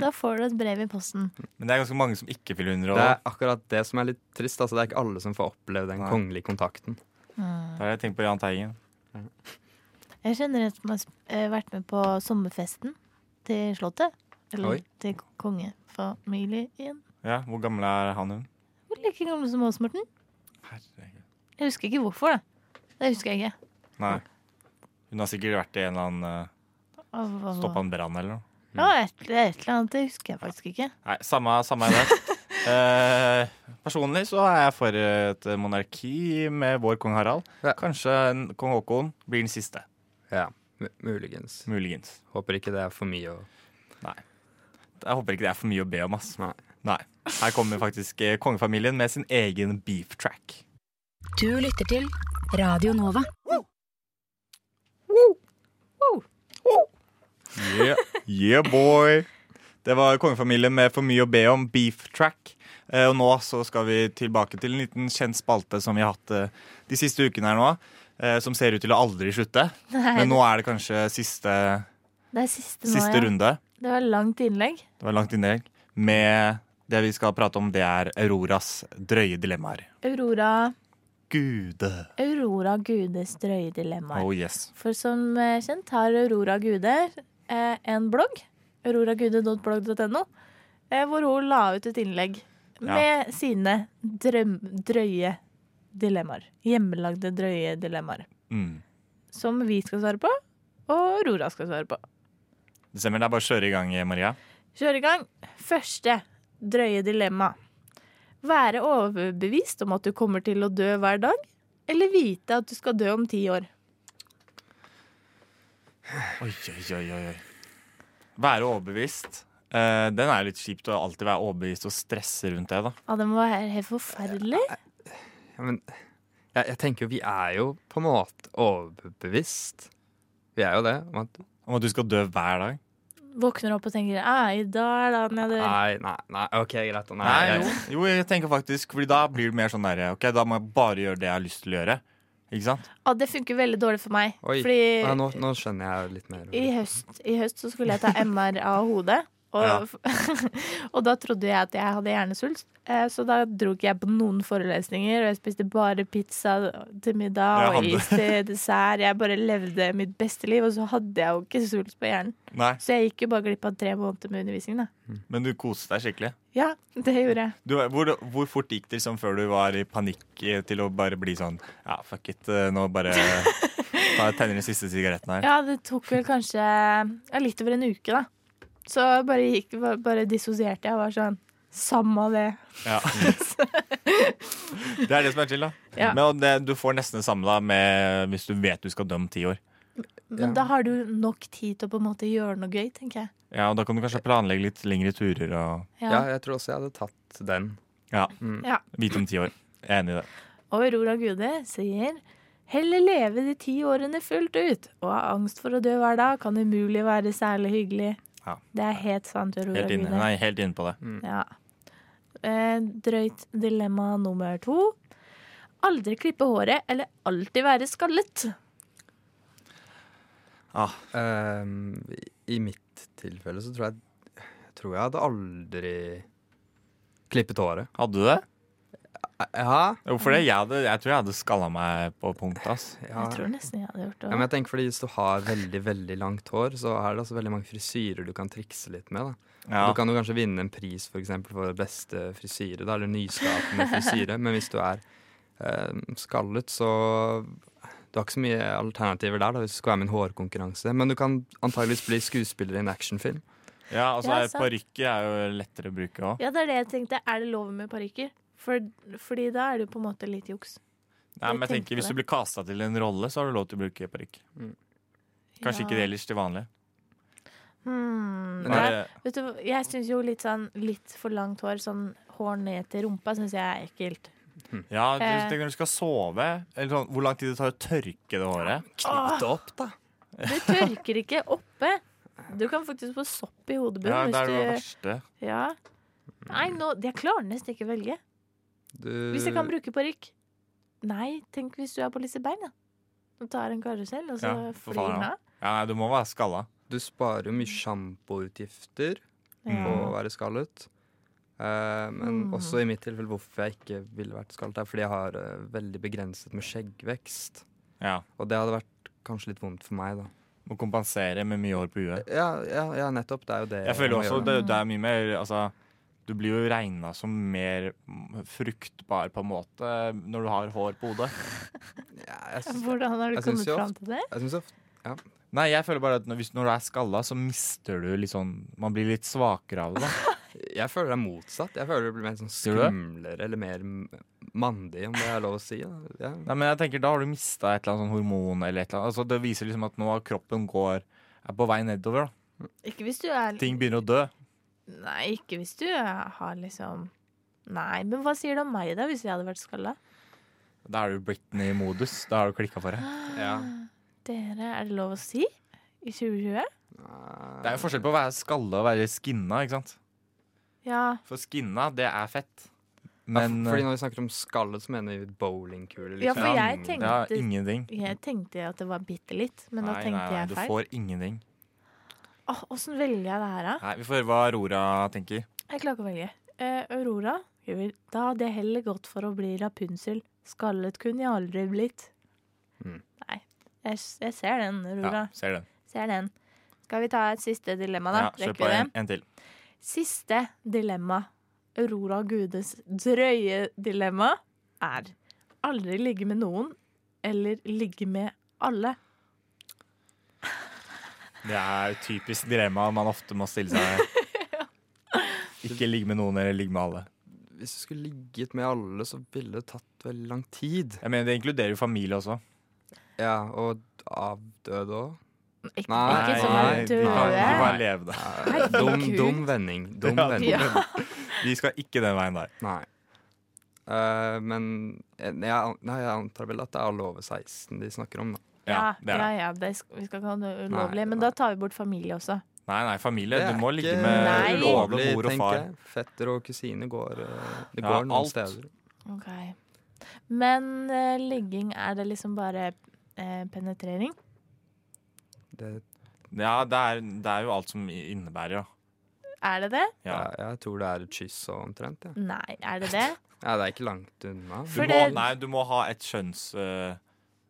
Da får du et brev i posten.
Men det er ganske mange som ikke fyller 100 år.
Det er akkurat det som er litt trist. Altså, det er ikke alle som får oppleve den
Nei.
kongelige kontakten.
Da har jeg tenkt på Jahn Teigen.
Jeg kjenner en som har sp- eh, vært med på sommerfesten til Slottet. Eller
Oi.
til kongefamilien.
Ja, Hvor gammel er han hun?
Hun er like gammel som oss, Morten.
Herregud.
Jeg husker ikke hvorfor, da. Det husker jeg ikke.
Nei. Hun har sikkert vært i en eller annen
Av- av- av-
stoppa en brann eller noe.
Ja, et, et eller annet. Det husker jeg faktisk ikke.
Nei, samme, samme er det. Eh, personlig så er jeg for eh, et monarki med vår kong Harald.
Ja.
Kanskje en kong Haakon blir den siste.
Ja, mu- muligens.
Muligens.
Håper ikke det er for mye å
Jeg håper ikke det er for mye å be om. ass.
Nei.
Nei. Her kommer faktisk eh, kongefamilien med sin egen beef track.
Du lytter til Radio Nova.
Yeah, yeah boy Det var kongefamilien med for mye å be om Beef Track eh, Og nå så skal vi tilbake til en liten kjent spalte Som vi har hatt eh, de siste ukene her nå eh, Som ser ut til å aldri slutte
Nei,
Men nå er det kanskje siste,
det er siste, nå,
siste
ja.
runde
Det var langt innlegg.
Det var langt innlegg Med det vi skal prate om Det er Auroras drøye dilemmaer
Aurora,
Gude
Aurora Gudes drøye dilemmaer.
Oh yes
For som eh, kjent har Aurora Gude eh, en blogg, auroragude.blogg.no, eh, hvor hun la ut et innlegg med sine drøm, drøye dilemmaer. Hjemmelagde drøye dilemmaer.
mm.
Som vi skal svare på, og Aurora skal svare på.
Det stemmer, det er bare å kjøre i gang, Maria
Kjør i gang. Første drøye dilemma. Være overbevist om at du kommer til å dø hver dag, eller vite at du skal dø om ti år.
Oi, oi, oi, oi, oi. Være overbevist. Eh, den er jo litt kjipt å alltid være overbevist og stresse rundt det. da.
Ja, det må være helt forferdelig.
ja, Men jeg, jeg tenker jo vi er jo på en måte overbevist. Vi er jo det. om at
Om at du skal dø hver dag.
Våkner opp og tenker «Ei, i dag er dagen jeg dør.
Nei, nei, nei, OK, greit. Nei,
Nei,
jeg-
jo. jo, jeg tenker faktisk, fordi da blir det mer sånn der, ok, da må jeg bare gjøre det jeg har lyst til å gjøre. Ikke sant?
Ja, det funker veldig dårlig for meg.
Oi,
fordi
ja, nå, nå skjønner jeg litt mer.
i, høst, i høst så skulle jeg ta MR av hodet. Og, og da trodde jeg at jeg hadde hjernesvulst, eh, så da dro ikke jeg på noen forelesninger. Og jeg spiste bare pizza til middag
Jeg
og
hadde-
is til dessert. Jeg bare levde mitt beste liv, og så hadde jeg jo ikke svulst på hjernen.
Nei,
Så jeg gikk jo bare glipp av tre måneder med undervisning, da.
Men du koste deg skikkelig.
Ja, det gjorde jeg.
Du, hvor, hvor fort gikk det liksom før du var i panikk eh, til å bare bli sånn Ja, fuck it, eh, nå bare ta tenner den siste sigaretten her.
Ja, det tok vel kanskje ja, litt over en uke, da. Så bare, gikk, ba- bare dissosierte jeg og var sånn Samma det.
Ja. Det er det som er chill, da.
Ja.
Men og det, du får nesten det samme da med hvis du vet du skal dø om ti år.
Men
Ja.
da har du nok tid til å på en måte gjøre noe gøy, tenker jeg.
Ja, og da kan du kanskje planlegge litt lengre turer og
Ja.
Ja, jeg tror også jeg hadde tatt den.
ja,
Ja.
vite om ti år. Jeg er enig i det.
Og Aurora Gude sier Heller leve de ti årene fullt ut. Og ha angst for å dø hver dag kan umulig være særlig hyggelig.
Ja.
Det er helt sant, Aurora
Helt inne,
Gude.
nei, helt inne på det.
Ja. Eh, drøyt dilemma nummer to. Aldri klippe håret eller alltid være skallet.
Ehm, I mitt tilfelle så tror jeg jeg tror jeg hadde aldri klippet håret.
Hadde du det?
Eh,
Ja,
Hvorfor det? Jeg, hadde, jeg tror jeg hadde skalla meg på punkt, ass.
ja.
Jeg tror nesten jeg hadde gjort det.
Ja, men jeg tenker fordi Hvis du har veldig veldig langt hår, så er det altså veldig mange frisyrer du kan trikse litt med. da.
Ja.
Du kan jo kanskje vinne en pris for, eksempel, for beste frisyre, da, eller nyskapende frisyre. Men hvis du er eh, skallet, så Du har ikke så mye alternativer der da, hvis du skal være med i en hårkonkurranse. Men du kan antageligvis bli skuespiller i en actionfilm.
Ja, altså
Ja,
ja,
sant.
Parykker er jo lettere å bruke òg.
Ja, det er det jeg tenkte. Er det lov med parykker? For, fordi da er det jo på en måte litt juks.
Nei, men jeg
Jeg
tenker,
tenkte
Hvis du
det.
blir kasta til en rolle, så har du lov til å bruke parykk. Kanskje ikke det
Ja.
ellers til vanlig.
Hmm,
Men
nei,
Bare,
vet du, hva, jeg syns jo litt sånn litt for langt hår, sånn hår ned til rumpa, syns jeg er ekkelt.
ja, du
Eh.
tenker når du skal sove eller sånn, Hvor lang tid det tar å tørke det håret?
Knytt det opp, da.
Det tørker ikke oppe. Du kan faktisk få sopp i
Ja,
hodebunnen
det er det
hvis
verste.
du Ja. Nei, nå, jeg klarer nesten ikke å velge.
Du,
Hvis jeg kan bruke parykk. Nei, tenk hvis du er på Liseberg, da. Og tar en karusell, og så
Ja, for
flyr
faen,
den
ja.
av.
Ja, nei, Du må være skalla.
du sparer jo mye sjampoutgifter. på å
Ja.
være skallet. Eh, men
Mm.
også i mitt tilfelle hvorfor jeg ikke ville vært skallet, er fordi jeg har eh, veldig begrenset med skjeggvekst.
Ja.
Og det hadde vært kanskje litt vondt for meg, da.
Må kompensere med mye hår på huet.
Ja, ja, ja nettopp. Det er jo det
Jeg føler
må
også
gjøre.
Eh, det, det er mye mer Altså, du blir jo regna som mer fruktbar på en måte når du har hår på hodet.
Ja, jeg
Mm.
syns-
Hvordan har du
Jeg syns
kommet
jo
fram til det?
jeg syns ofte
Nei, jeg føler bare at når, hvis, når du er skalla, så mister du litt sånn Man blir litt svakere av det. da.
Jeg føler det er motsatt. Jeg føler det blir mer sånn
Gjør du det?
skumlere eller mer m- mandig, om det er lov å si. da. Ja.
Nei, men jeg tenker Da har du mista et eller annet sånn hormon eller et eller annet. Altså, det viser liksom at nå har kroppen går er på vei nedover. da.
Ikke hvis du er
Ting begynner å dø.
Nei, ikke hvis du har liksom Nei, men hva sier du om meg, da, hvis jeg hadde vært skalla?
Da er du Britney-modus. Da har du klikka for det.
Ja.
Dere, er det lov å si? I 2020?
Det er jo forskjell på å være skalla og være skinna, ikke sant?
Ja.
For skinna, det er fett. Men eh,
Men, ja, fordi når vi snakker om skallet, så mener vi liksom. bowlingkule.
Ja, for jeg
eh,
tenkte,
ja, ingenting.
jeg tenkte at det var bitte litt, men da
Nei,
tenkte
nei, nei,
jeg
du
feil.
får ingenting.
Åh, Åssen velger jeg det her, da?
Nei, Vi får høre hva Aurora tenker.
Jeg klarer ikke å velge. Eh, Aurora? Jeg vil- Da hadde jeg heller gått for å bli Rapunsel. Skallet kunne jeg aldri blitt.
Mm.
Nei. Jeg, s- jeg ser den,
Ja,
Aurora.
ser den.
Ser den. Skal vi ta et siste dilemma, da?
Ja, kjør
Rekker
på
vi det?
en, en til.
Siste dilemma, Aurora Gudes drøye dilemma, er aldri ligge med noen eller ligge med alle.
Det er jo typisk dilemma man ofte må stille seg. Ikke ligge med noen eller ligge med alle.
Hvis du skulle ligget med alle, så ville det tatt veldig lang tid.
Jeg mener, Det inkluderer jo familie også.
Ja, og avdøde òg.
Ikke,
Nei,
ikke som
de
er
kan
døde.
ikke bare leve det.
Eh, Dum,
Herregud.
dum vending. Dum
Ja,
vending.
Ja.
Vi skal ikke den veien der.
Nei. Eh, men jeg, jeg- nei, jeg antar vel at det er lov 16 de snakker om, da.
Ja, det er.
ja,
det.
ja, det skal, vi skal ikke ha noe ulovlig.
Nei,
men
nei.
da tar vi bort familie også.
Nei, nei, familie.
Det er
Du må ligge
ikke
Nei.
med lovlig
ulovlig,
mor og
tenker
far.
jeg. Fetter og kusine går eh, Det
Ja,
går noen
alt.
steder.
Ok. Men eh, ligging, er det liksom bare eh, penetrering?
Det,
Ja, det er, det er jo alt som innebærer, ja.
Er det det?
ja.
Jeg, jeg tror det er et kyss og omtrent, ja.
Nei, er det det?
ja. Det er ikke langt unna.
Du
For
må,
det-
nei, du må ha et kjønns... eh,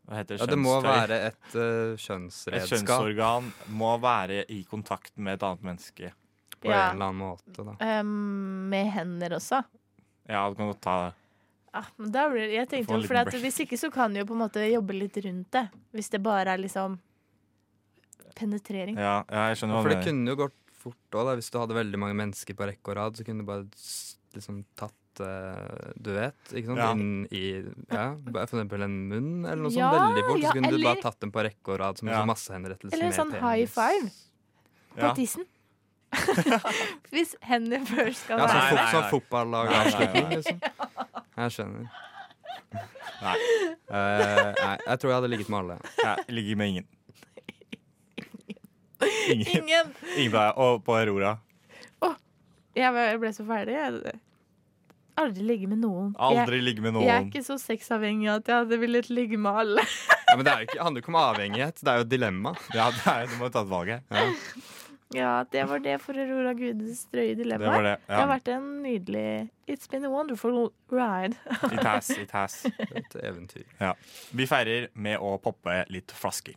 hva heter det?
Ja, det må
Kjønnstøy.
være et eh,
Et
kjønnsredskap
kjønnsorgan må være i kontakt med et annet menneske.
på
Ja.
en eller annen måte, da.
Um, med hender også?
Ja, du kan godt ta
Ah, men da blir, jeg tenkte
Få en
jo,
liten
for at
break.
Hvis ikke så kan du jo på en måte jobbe litt rundt det. Hvis det bare er liksom penetrering.
Ja, ja jeg skjønner
For
hva du
det
mener.
kunne jo gått fort òg, hvis du hadde veldig mange mennesker på rekke og rad, så kunne du bare s- liksom tatt eh, duett, ikke sant,
Ja.
inn i ja, bare for eksempel en munn eller noe
Ja,
sånt veldig fort,
ja,
så kunne du
eller-
bare tatt den på rekke og rad som
Ja.
en sånn massehenrettelse
Eller
med
sånn
penis.
high five. På
Ja.
tissen. hvis hender først skal
Ja,
være
sånn,
Nei,
fo-
nei,
sånn
nei.
fotballag-avslutning, liksom. Jeg skjønner.
Nei.
Eh, nei, jeg tror jeg hadde ligget med alle.
Jeg ligger med ingen. Ingen.
sånn, Ingen!
ingen på deg. Og på Aurora.
Jeg ble- jeg ble så ferdig. Jeg. aldri ligge med noen.
Aldri ligge med
Jeg, jeg er
noen.
ikke så sexavhengig at jeg hadde villet ligge med alle.
Ja, men det er jo ikke, handler jo ikke om avhengighet, det er jo et dilemma.
Ja, det er, du må ta et valg her.
Ja, det var det for Aurora Gudes drøye dilemma.
Det var det.
Det har
Ja.
vært en nydelig It's been a wonderful ride.
It has, it has.
Et eventyr.
Vi feirer med å poppe litt flasker.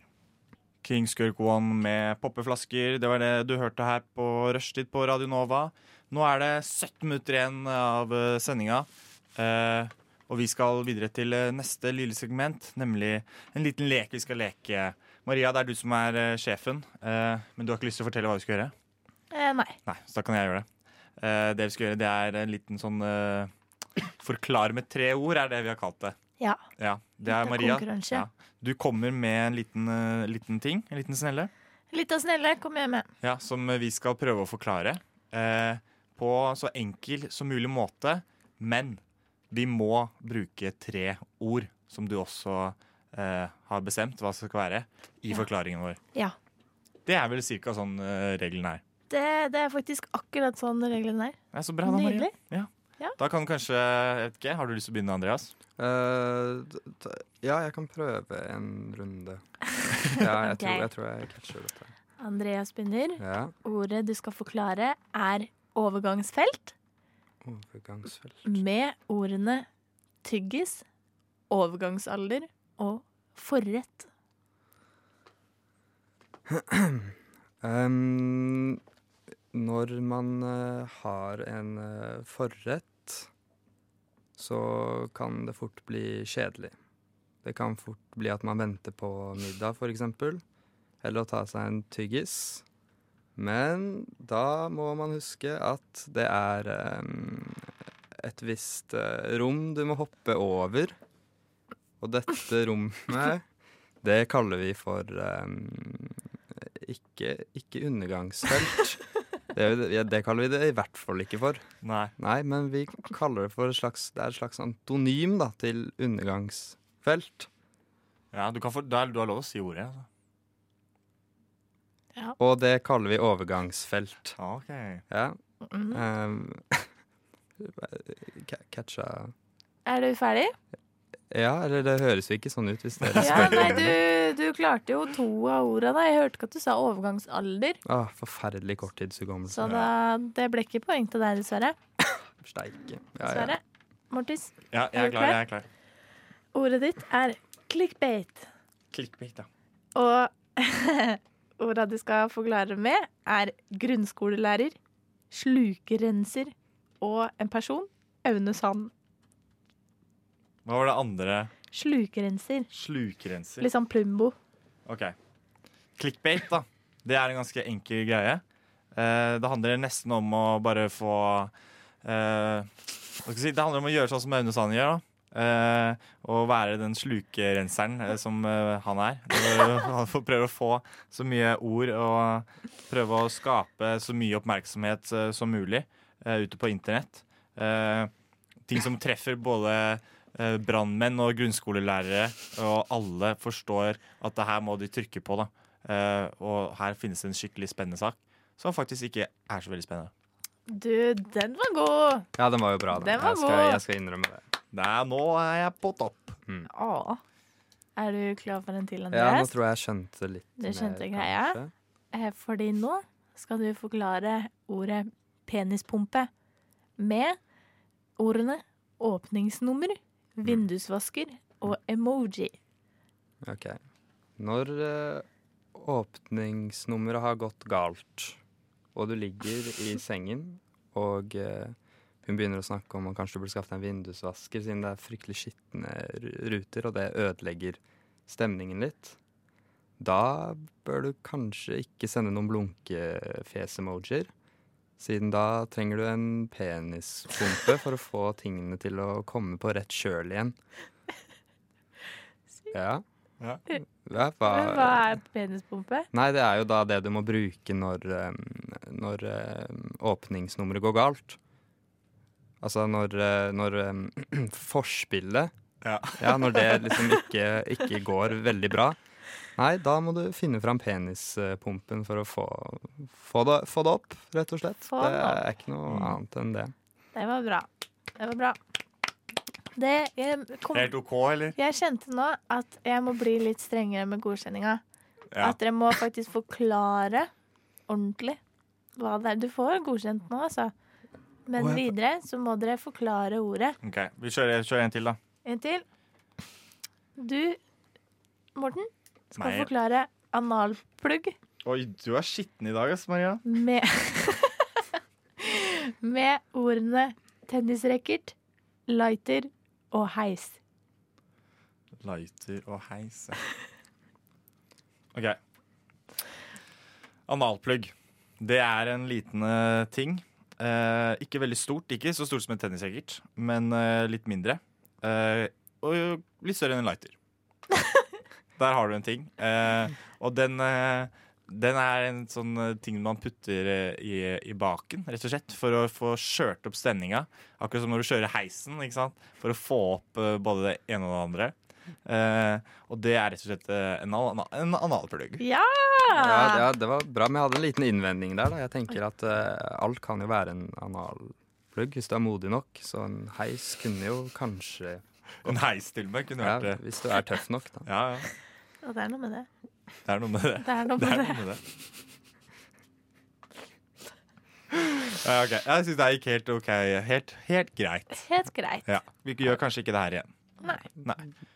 Kingskirk One med poppeflasker. Det var det du hørte her på rushtid på Radio Nova. Nå er det 17 minutter igjen av eh, sendinga. Eh, og vi skal videre til eh, neste lille segment, nemlig en liten lek vi skal leke. Maria, det er du som er eh, sjefen, eh, men du har ikke lyst til å fortelle hva vi skal gjøre?
Eh, nei.
Nei, så da kan jeg gjøre det. Eh, det vi skal gjøre, det er en liten sånn eh, Forklar med tre ord, er det vi har kalt det.
Ja.
Ja, det er
Liten
Maria.
konkurranse.
Ja. Du kommer med en liten, eh, liten ting, en liten snelle,
Litt av snelle, kom hjem med.
ja, som vi skal prøve å forklare eh, på så enkel som mulig måte. Men vi må bruke tre ord, som du også eh, har bestemt hva skal være, i forklaringen vår.
Ja.
Det er vel cirka sånn eh, regelen er.
Det, det er faktisk akkurat sånn reglene er.
Det er så bra da, Maria.
Nydelig.
Ja.
Ja.
Da kan kanskje, jeg vet ikke, Har du lyst til å begynne, Andreas?
Eh, d- d- ja, jeg kan prøve en runde. Ja, jeg tror jeg, tror jeg catcher dette.
Andreas begynner.
Ja,
Ordet du skal forklare, er overgangsfelt
overgangsfelt.
med ordene tyggis, overgangsalder og forrett.
Ehm, når man eh, har en eh, forrett, så kan det fort bli kjedelig. Det kan fort bli at man venter på middag, for eksempel. Eller å ta seg en tyggis. Men da må man huske at det er ehm, et visst eh, rom du må hoppe over. Og dette rommet, det kaller vi for ehm, ikke, ikke undergangsfelt. Det, er jo det- ja, det kaller vi det i hvert fall ikke for.
Nei.
Nei, men vi kaller det for et slags, det er et slags antonym da, til undergangsfelt.
Ja, du, kan få- da- du har lov å si ordet. Altså.
Og det kaller vi overgangsfelt.
Ah, Ok.
Ja.
Mhm.
Um, ca- catcha
Er du ferdig?
Ja, eller det høres jo ikke sånn ut hvis dere
Ja,
spør.
nei, du, du klarte jo to av ordene. da. Jeg hørte ikke at du sa overgangsalder,
Ah, forferdelig korttidshukommelse.
så da, det ble ikke poeng til deg, dessverre.
Steike. Ja, ja.
Dessverre. Mortis,
Ja, jeg
Er
er
du
klar.
klar?
Jeg er klar.
ordet ditt er clickbait.
Clickbait, da.
Og orda du skal forklare med, er grunnskolelærer, slukerenser og en person, Aune Sand.
Hva var det andre?
Slukerenser.
Slukrenser.
Litt sånn Plumbo.
Ok. Clickbait, da. Det er en ganske enkel greie. Eh, det handler nesten om å bare få eh, hva skal jeg si, Det handler om å gjøre sånn som Aune Sand gjør. da. Eh, og være den slukerenseren eh, som eh, han er. Og Han får prøve å få så mye ord og prøve å skape så mye oppmerksomhet eh, som mulig eh, ute på internett. Eh, ting som treffer både eh, brannmenn og grunnskolelærere, og alle forstår at det her må de trykke på, da. Eh, og her finnes det en skikkelig spennende sak, som faktisk ikke er så veldig spennende.
Du, den var god!
ja, den var jo bra. Den.
Den var
jeg, skal,
god.
jeg skal innrømme det.
Nei, nå er jeg på topp.
Å. Er du klar for en til,
Ja, nå
Andreas?
tror jeg jeg skjønte litt
Du skjønte
mer,
greia?
kanskje.
Eh, Fordi nå skal du forklare ordet penispumpe med ordene åpningsnummer, vindusvasker og emoji.
Ok. Når eh, åpningsnummeret har gått galt, og du ligger i sengen, og eh, hun begynner å snakke om at kanskje du burde skaffe deg en vindusvasker, siden det er fryktelig skitne ru- ruter, og det ødelegger stemningen litt, da bør du kanskje ikke sende noen blunkefjes-emojier. Siden da trenger du en penispumpe for å få tingene til å komme på rett kjøl igjen. Ja.
Ja.
Ja,
Men hva er penispumpe?
Nei, det er jo da det du må bruke når, eh, når eh, åpningsnummeret går galt. Altså når, eh, når eh, forspillet
Ja.
ja, når det liksom ikke, ikke går veldig bra. Nei, da må du finne fram penispumpen for å få, få, det, få det opp, rett og slett.
Få
det
det
er
opp.
ikke noe annet enn det.
Det var bra. Det var bra. Det jeg kom
Helt OK, eller?
Jeg kjente nå at jeg må bli litt strengere med godkjenninga.
Ja.
At dere må faktisk forklare ordentlig hva det er. Du får godkjent nå, altså. Men
Å, jeg-
videre så må dere forklare ordet.
Ok, Vi kjører, kjører en til, da.
En til. Du, Morten, skal
Nei.
forklare analplugg
Oi, du er skitten i dag, ass, Maria.
med Med ordene tennisracket, lighter og heis.
Lighter og heis. ja. OK. Analplugg. Det er en liten eh, ting. Eh, ikke veldig stort, ikke så stort som en tennis, sikkert, men eh, litt mindre. Eh, og jo, litt større enn en lighter. Der har du en ting. Eh, og den, eh, den er en sånn eh, ting man putter eh, i, i baken, rett og slett, for å få skjørt opp stemninga. Akkurat som når du kjører heisen, ikke sant? for å få opp eh, både det ene og det andre. Eh, og det er rett og slett eh, en, ana- en analplugg.
Ja!
Ja, det, ja, det var bra, men jeg hadde en liten innvending der. da. Jeg tenker at eh, alt kan jo være en analplugg hvis du er modig nok. Så en heis kunne jo kanskje
En heis til og med kunne
ja,
vært eh, det.
Hvis du er tøff nok, da.
Ja, ja.
Og det er noe med det.
Det er noe med det.
Det er noe
Det
med
er noe
det.
med det. Ja, ok. Jeg syns det gikk helt OK. Helt, helt greit.
Helt greit.
Ja. Vi gjør kanskje ikke det her igjen.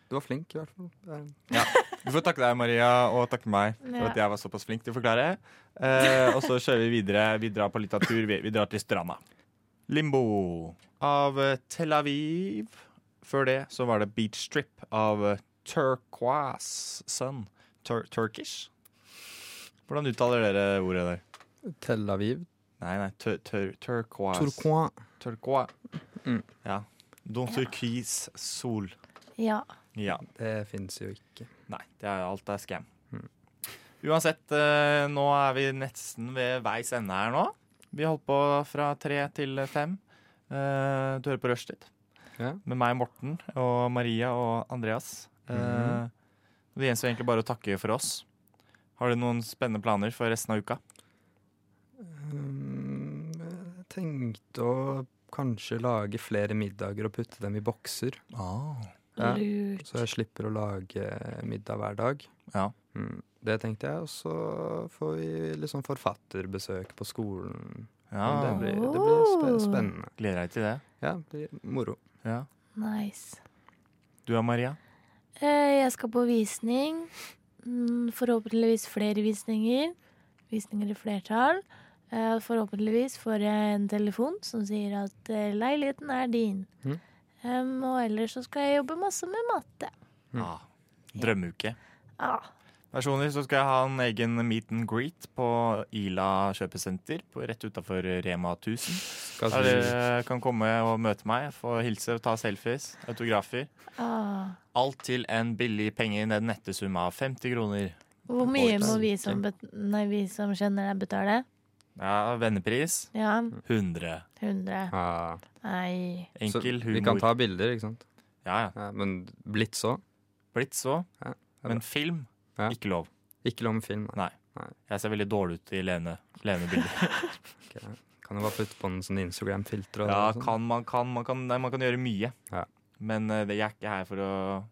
Du var flink, i hvert fall. Det er-
Du får takke deg, Maria, og takke meg for
Ja.
at jeg var såpass flink til å forklare. Eh, og så kjører vi videre. Vi drar på litt av tur. Vi, vi drar til stranda. Limbo av eh, Tel Aviv. Før det så var det Beach Strip av eh, Turquoise Sun. Tur Turkish? Hvordan uttaler dere ordet der?
Tel Aviv.
Nei, nei, tur tur turquoise.
Turquoise.
Turquoise.
Mm.
Ja. Don turkis sol.
Ja.
Ja.
Det fins jo ikke.
Nei, det er, alt er scam.
Mm.
Uansett, eh, nå er vi nesten ved veis ende her nå. Vi holdt på fra tre til fem. Eh, du hører på Rushtid.
Ja.
Med meg, Morten, og Maria og Andreas. Eh,
Mhm.
Det gjenstår egentlig bare å takke for oss. Har du noen spennende planer for resten av uka?
Um, jeg tenkte å kanskje lage flere middager og putte dem i bokser. Ah. Ja.
Lurt.
Så jeg slipper å lage middag hver dag.
Ja.
Mm, det tenkte jeg. Og så får vi liksom forfatterbesøk på skolen. Det
Ja,
blir, det blir spe
Oh.
spennende.
Gleder deg til det.
Ja, det blir moro.
Ja.
Nice.
Du og Maria?
Eh, Jeg skal på visning. Mm, Forhåpentligvis flere visninger. Visninger i flertall. Eh, Forhåpentligvis får jeg en telefon som sier at eh, leiligheten er din.
Hm?
Mhm.
Em, og ellers så skal jeg jobbe masse med matte.
Mm.
Ah, drømmeuke.
Ah,
Personlig så skal jeg ha en egen meet and greet på Ila kjøpesenter, på, rett utafor Rema 1000.
Skal
Der
vi,
dere kan komme og møte meg, få hilse, ta selfies, autografer.
ah.
Alt til en billig penge i den nette sum av 50 kroner.
Hvor mye må vi som, bet nei, vi som kjenner deg, betale?
Ja, Vennepris
Ja,
100.
100.
ja.
Nei.
Så
Enkel
vi kan
humor.
ta bilder, ikke sant?
Ja, ja.
Ja, men blitt så?
Blitt så.
Ja, det er
Men
bra.
film,
Ja.
ikke lov.
Ikke lov med film. da.
Nei. Jeg ser veldig dårlig ut i lene, lenebilder.
Ok, ja. Kan jo bare putte på en sånn Instagram-filter. og
Ja,
sånn.
kan, man, kan, man, kan, nei, man kan gjøre mye.
Ja.
Men eh, det- jeg er ikke her for å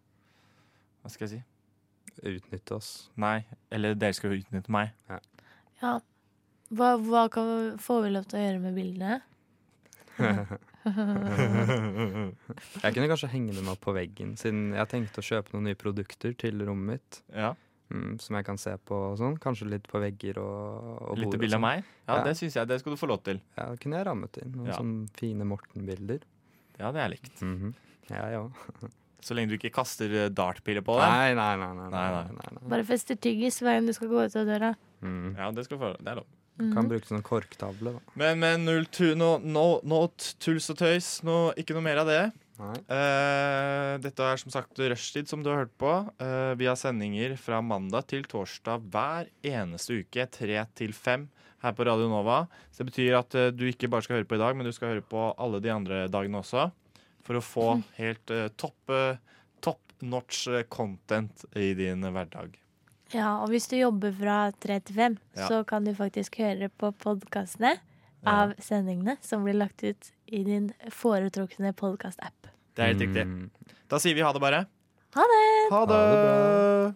Hva skal jeg si?
Utnytte oss.
Nei, eller dere skal jo utnytte meg.
Ja. Hva, hva kan, får vi lov til å gjøre med bildene?
Jeg kunne kanskje henge dem opp på veggen, siden jeg tenkte å kjøpe noen nye produkter til rommet mitt.
Ja,
Mm, som jeg kan se på og sånn. Kanskje litt på vegger og, og
Litt
bord og
bilde av
sånn.
meg? Ja,
Ja.
det syns jeg. Det skal du få lov til.
Ja, da kunne jeg rammet inn noen
Ja.
sånne fine Morten-bilder.
Det hadde jeg likt.
Mhm. Ja, ja.
Så lenge du ikke kaster eh, dartpiler på deg.
Nei, nei, nei. nei, nei,
Nei,
nei, nei.
Bare fester tyggis hver gang du skal gå ut av døra. Mm.
Mhm.
Ja, det skal du få Det er lov.
Kan bruke sånn korktavle, da.
Men, men null tu, no, no, no t- tuls og tøys. No, ikke noe mer av det.
Nei.
Eh, dette er som sagt rushtid, som du har hørt på. Eh, vi har sendinger fra mandag til torsdag hver eneste uke, tre til fem, her på Radio Nova. Så det betyr at eh, du ikke bare skal høre på i dag, men du skal høre på alle de andre dagene også. For å få
Mm.
helt eh, topp, eh, top notch eh, content i din eh, hverdag.
Ja, og hvis du jobber fra 3 til 5,
Ja.
så kan du faktisk høre på podkastene
Eh,
av sendingene som blir lagt ut i din foretrukne podkast-app.
Det er helt riktig.
Mm.
Da sier vi ha det, bare.
Ha det!
Ha det!